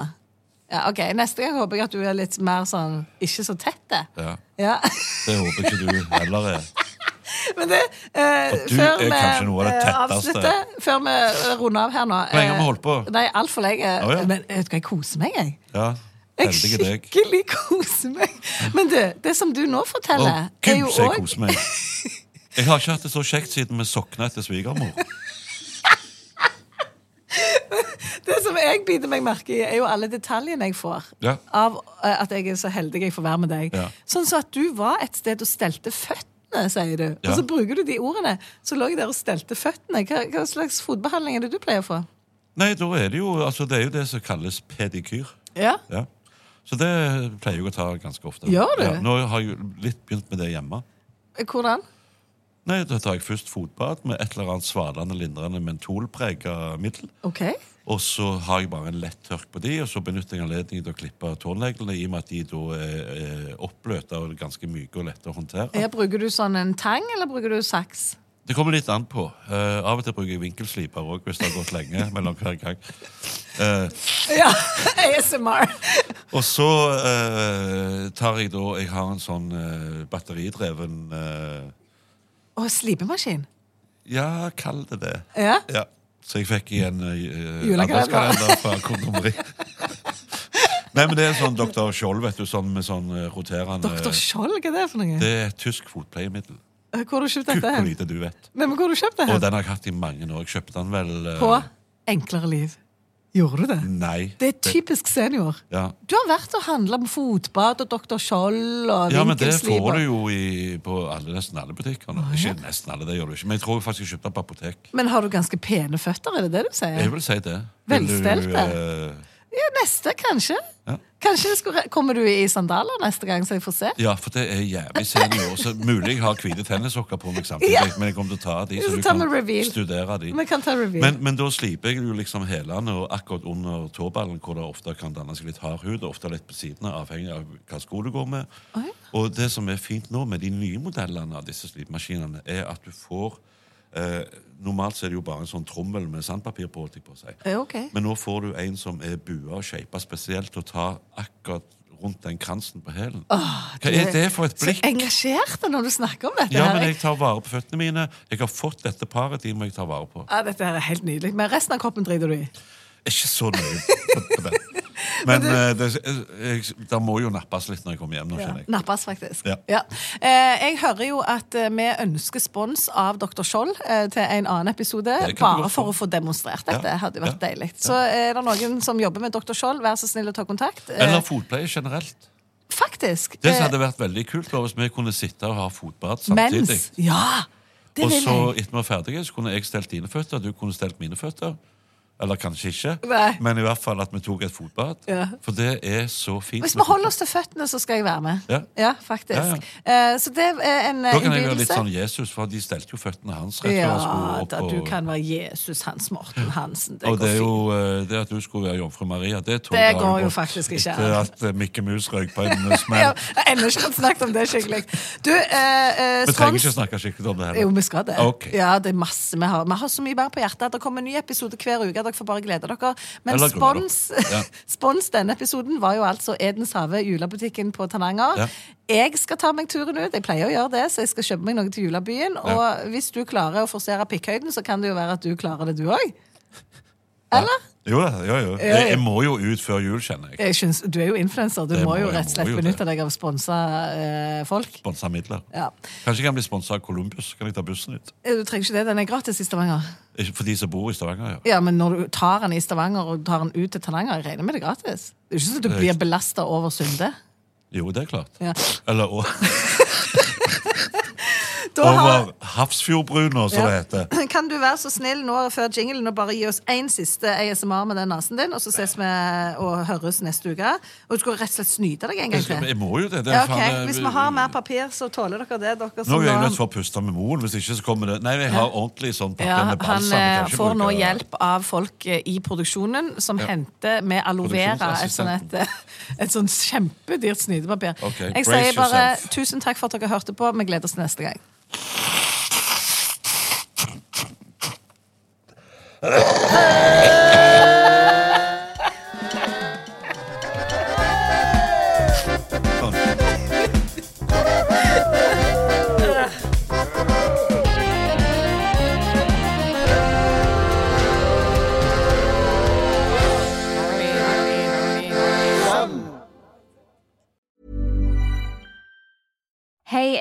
Speaker 3: Ja, ok, Neste gang håper jeg at du er litt mer sånn ikke så tett.
Speaker 2: Ja.
Speaker 3: Ja. [laughs]
Speaker 2: Det håper ikke du heller er.
Speaker 3: Men det eh,
Speaker 2: Og du
Speaker 3: før
Speaker 2: er
Speaker 3: vi,
Speaker 2: kanskje noe av det
Speaker 3: eh,
Speaker 2: tetteste.
Speaker 3: avslutter, Før vi eh, runder av her nå
Speaker 2: Hvor lenge har vi
Speaker 3: eh,
Speaker 2: holdt på?
Speaker 3: Nei, altfor lenge.
Speaker 2: Å, ja.
Speaker 3: Men vet du hva, jeg koser meg, jeg.
Speaker 2: Ja,
Speaker 3: Jeg
Speaker 2: Heldige deg.
Speaker 3: skikkelig [laughs] koser meg. Men du, det som du nå
Speaker 2: Å,
Speaker 3: forteller, er
Speaker 2: gud,
Speaker 3: jo
Speaker 2: så jeg
Speaker 3: også-
Speaker 2: koser meg. Jeg har ikke hatt det så kjekt siden vi sokna etter svigermor.
Speaker 3: Det som jeg biter meg merke i, er jo alle detaljene jeg får
Speaker 2: Ja.
Speaker 3: av eh, at jeg er så heldig jeg får være med deg.
Speaker 2: Ja.
Speaker 3: Sånn som at du var et sted og stelte føttene, sier du.
Speaker 2: Ja.
Speaker 3: Og så bruker du de ordene. Så lå jeg der og stelte føttene. Hva, hva slags fotbehandling er det du pleier å få?
Speaker 2: Nei, da er det jo altså, Det er jo det som kalles pedikyr.
Speaker 3: Ja.
Speaker 2: Ja. Så det pleier jeg å ta ganske ofte.
Speaker 3: Gjør du?
Speaker 2: Ja, nå har jeg jo litt begynt med det hjemme.
Speaker 3: Eh, Hvordan?
Speaker 2: Nei, Da tar jeg først fotbad med et eller annet svalende, lindrende mentolprega middel.
Speaker 3: Ok.
Speaker 2: Og så har jeg bare en lett tørk på de, og så benytter jeg anledningen til å klippe tåneglene, i og med at de da er, er oppløta og ganske myke og lette å håndtere.
Speaker 3: Ja, bruker du sånn en tang, eller bruker du saks?
Speaker 2: Det kommer litt an på. Eh, av og til bruker jeg vinkelsliper òg, hvis det har gått lenge [laughs] mellom hver gang. Eh,
Speaker 3: Ja, [laughs] ASMR.
Speaker 2: Og så eh, tar jeg da Jeg har en sånn eh, batteridreven eh,
Speaker 3: Og slipemaskin.
Speaker 2: Ja, kall det det.
Speaker 3: Ja.
Speaker 2: Ja. Så jeg fikk igjen uh,
Speaker 3: Julekalender.
Speaker 2: adventskalender fra kondomeri. [laughs] Nei, men det er en sånn Dr. Skjold, vet du, sånn med sånn eh, roterende
Speaker 3: Dr. Skjold, hva er det for noe? Eh,
Speaker 2: Det er et tysk fotpleiemiddel.
Speaker 3: Hvor har du kjøpt
Speaker 2: Gud,
Speaker 3: dette?
Speaker 2: hvor
Speaker 3: hen?
Speaker 2: lite du vet.
Speaker 3: Nei, men hvor har du kjøpt det?
Speaker 2: Og
Speaker 3: hen?
Speaker 2: den har jeg hatt i mange år. Jeg kjøpte den vel eh,
Speaker 3: På Enklere liv. Gjorde du det?
Speaker 2: Nei.
Speaker 3: Det er typisk senior.
Speaker 2: Ja.
Speaker 3: Du har vært og handla om fotbad og Dr. Skjold og
Speaker 2: Ja, men det får du
Speaker 3: vinkelsliper.
Speaker 2: jo i, på alle, nesten alle butikker. nå. Ikke nesten alle, det gjør du ikke. Men jeg tror faktisk jeg kjøpte den på apotek.
Speaker 3: Men har du ganske pene føtter, er det det du sier?
Speaker 2: Jeg vil si det.
Speaker 3: Velstelte.
Speaker 2: eh,
Speaker 3: Ja, neste, kanskje. Kanskje jeg skulle, Kommer du i sandaler neste gang, så jeg får se?
Speaker 2: ja, for det er jævlig senior. Så mulig jeg har hvite tennissokker på meg samtidig,
Speaker 3: Ja.
Speaker 2: men jeg kommer til å ta de,
Speaker 3: Ja,
Speaker 2: så
Speaker 3: så
Speaker 2: du
Speaker 3: tar
Speaker 2: kan
Speaker 3: vi reveal.
Speaker 2: studere de.
Speaker 3: Vi kan ta reveal.
Speaker 2: Men, men da sliper jeg jo liksom hælene og akkurat under tåballen, hvor det ofte kan danne seg litt hard hud, og ofte litt på sidene, avhengig av hva sko du går med. Og det som er fint nå med de nye modellene av disse slipemaskinene, er at du får eh, Normalt så er det jo bare en sånn trommel med sandpapir
Speaker 3: Eh?
Speaker 2: på, holdt jeg på å si.
Speaker 3: Ja, ok.
Speaker 2: Men nå får du en som er bua og shapet spesielt, og tar akkurat rundt den kransen på hælen. Hva er det for et
Speaker 3: Så
Speaker 2: blikk?
Speaker 3: engasjerte når du snakker om dette.
Speaker 2: Ja,
Speaker 3: her.
Speaker 2: men jeg tar vare på føttene mine. Jeg har fått dette paret i meg jeg tar vare på.
Speaker 3: ja, dette her er helt nydelig. Men resten av kroppen driter du i.
Speaker 2: Jeg er Ikke så nøye på, på
Speaker 3: [laughs]
Speaker 2: det. Men eh, det, jeg, der må jo nappes litt når jeg kommer hjem. nå
Speaker 3: Ja.
Speaker 2: skjønner jeg.
Speaker 3: Nappes, faktisk.
Speaker 2: Ja.
Speaker 3: Eh, jeg hører jo at eh, vi ønsker spons av Dr. Skjold eh, til en annen episode.
Speaker 2: Det kan vi
Speaker 3: Bare
Speaker 2: godt
Speaker 3: for
Speaker 2: få.
Speaker 3: å få demonstrert dette.
Speaker 2: Ja.
Speaker 3: hadde jo vært
Speaker 2: Ja.
Speaker 3: deilig. Så eh, er det noen som jobber med Dr. Skjold, vær så snill å ta kontakt. Eh,
Speaker 2: Eller fotpleie generelt.
Speaker 3: faktisk.
Speaker 2: Det
Speaker 3: eh,
Speaker 2: som hadde vært veldig kult, var hvis vi kunne sitte og ha fotbad samtidig.
Speaker 3: mens. Ja! Det
Speaker 2: Og
Speaker 3: vil
Speaker 2: så,
Speaker 3: jeg.
Speaker 2: etter vi var ferdige, så kunne jeg stelt dine føtter, og du kunne stelt mine føtter. Eller kanskje ikke,
Speaker 3: Nei.
Speaker 2: men i hvert fall at vi tok et fotbad.
Speaker 3: Ja.
Speaker 2: For det er så fint.
Speaker 3: Hvis
Speaker 2: med
Speaker 3: vi holder
Speaker 2: fotbad.
Speaker 3: oss til føttene, så skal jeg være med.
Speaker 2: Ja.
Speaker 3: faktisk.
Speaker 2: Ja,
Speaker 3: Eh, så det er en eh,
Speaker 2: Da kan jeg være litt
Speaker 3: innbydelse.
Speaker 2: sånn Jesus, for de stelte jo føttene hans rett før han skulle
Speaker 3: Ja,
Speaker 2: opp.
Speaker 3: da, du
Speaker 2: og-
Speaker 3: kan være Jesus Hans Morten Hansen. Det
Speaker 2: Og det
Speaker 3: går
Speaker 2: er
Speaker 3: fint.
Speaker 2: jo eh, det at du skulle være jomfru Maria, det tror
Speaker 3: Det
Speaker 2: jeg har
Speaker 3: går jo
Speaker 2: gått
Speaker 3: faktisk ikke
Speaker 2: Etter
Speaker 3: an.
Speaker 2: at eh, Mikke Mus røyk på
Speaker 3: [laughs]
Speaker 2: en eh,
Speaker 3: Ja,
Speaker 2: smell.
Speaker 3: Ennå ikke han snakket om det skikkelig. Du, eh, eh,
Speaker 2: Vi trenger ikke
Speaker 3: spons-
Speaker 2: snakke skikkelig om det heller.
Speaker 3: Jo, vi skal det.
Speaker 2: Ok.
Speaker 3: Ja, det er masse vi har. Vi har så mye mer på hjertet. Det kommer en ny episode hver uke. Dere får bare glede dere. Men
Speaker 2: Eller grue dere.
Speaker 3: spons,
Speaker 2: Ja.
Speaker 3: [laughs] spons denne episoden var jo altså Edens Have, julebutikken på Tananger.
Speaker 2: Ja.
Speaker 3: Jeg skal ta meg turen ut. Jeg pleier å gjøre det, så jeg skal kjøpe meg noe til julebyen. Og hvis du klarer å forsere pikkhøyden, så kan det jo være at du klarer det, du òg. Eller?
Speaker 2: Jo da, jo, jo. Jeg, jeg må jo ut før jul, kjenner jeg.
Speaker 3: Jeg synes, du er jo influenser. Du
Speaker 2: Det
Speaker 3: må
Speaker 2: må-
Speaker 3: jo
Speaker 2: jeg
Speaker 3: rett og slett
Speaker 2: må jo
Speaker 3: benytte
Speaker 2: det.
Speaker 3: deg av sponsa eh, folk.
Speaker 2: Sponsa midler.
Speaker 3: Ja.
Speaker 2: Kanskje jeg kan bli sponsa av Columbus? Kan jeg ta bussen ut?
Speaker 3: Eh, Du trenger ikke det. Den er gratis i Stavanger.
Speaker 2: Ikke For de som bor i Stavanger, ja.
Speaker 3: Ja, men når du tar den i Stavanger og tar den ut til Tananger, jeg regner med det er gratis. Det er ikke sånn at du
Speaker 2: Det er
Speaker 3: blir
Speaker 2: riktig.
Speaker 3: belasta over Sunde.
Speaker 2: Jo, det er klart.
Speaker 3: Ja.
Speaker 2: Eller
Speaker 3: [laughs]
Speaker 2: og,
Speaker 3: Da har,
Speaker 2: over Hafrsfjordbruna, som det heter.
Speaker 3: [clears throat] kan du være så snill nå før jinglen og bare gi oss én siste ASMR med den nesen din, og så ses vi og høres neste uke. Og du skal rett og slett snyte deg en gang
Speaker 2: Jeg,
Speaker 3: til.
Speaker 2: jeg må jo det. det er
Speaker 3: Ja, ok.
Speaker 2: faen, eh,
Speaker 3: Hvis vi har mer papir, så tåler dere det. Dere
Speaker 2: Nå
Speaker 3: som
Speaker 2: er jeg
Speaker 3: nå-
Speaker 2: nødt til å puste med moren. Hvis ikke så kommer det Nei, jeg har ordentlig sånn pakke
Speaker 3: ja,
Speaker 2: med
Speaker 3: han
Speaker 2: balsam. jeg
Speaker 3: eh,
Speaker 2: kan ikke
Speaker 3: får nå
Speaker 2: bruke-
Speaker 3: hjelp av folk eh, i produksjonen som henter med aloe vera et sånn et,
Speaker 2: Produksjonsassistenten.
Speaker 3: [laughs] et sånn kjempedyrt snytepapir.
Speaker 2: Ok,
Speaker 3: Jeg
Speaker 2: brace
Speaker 3: sier bare
Speaker 2: yourself.
Speaker 3: tusen takk for at dere hørte på. Vi gleder oss til neste gang.
Speaker 5: Hey,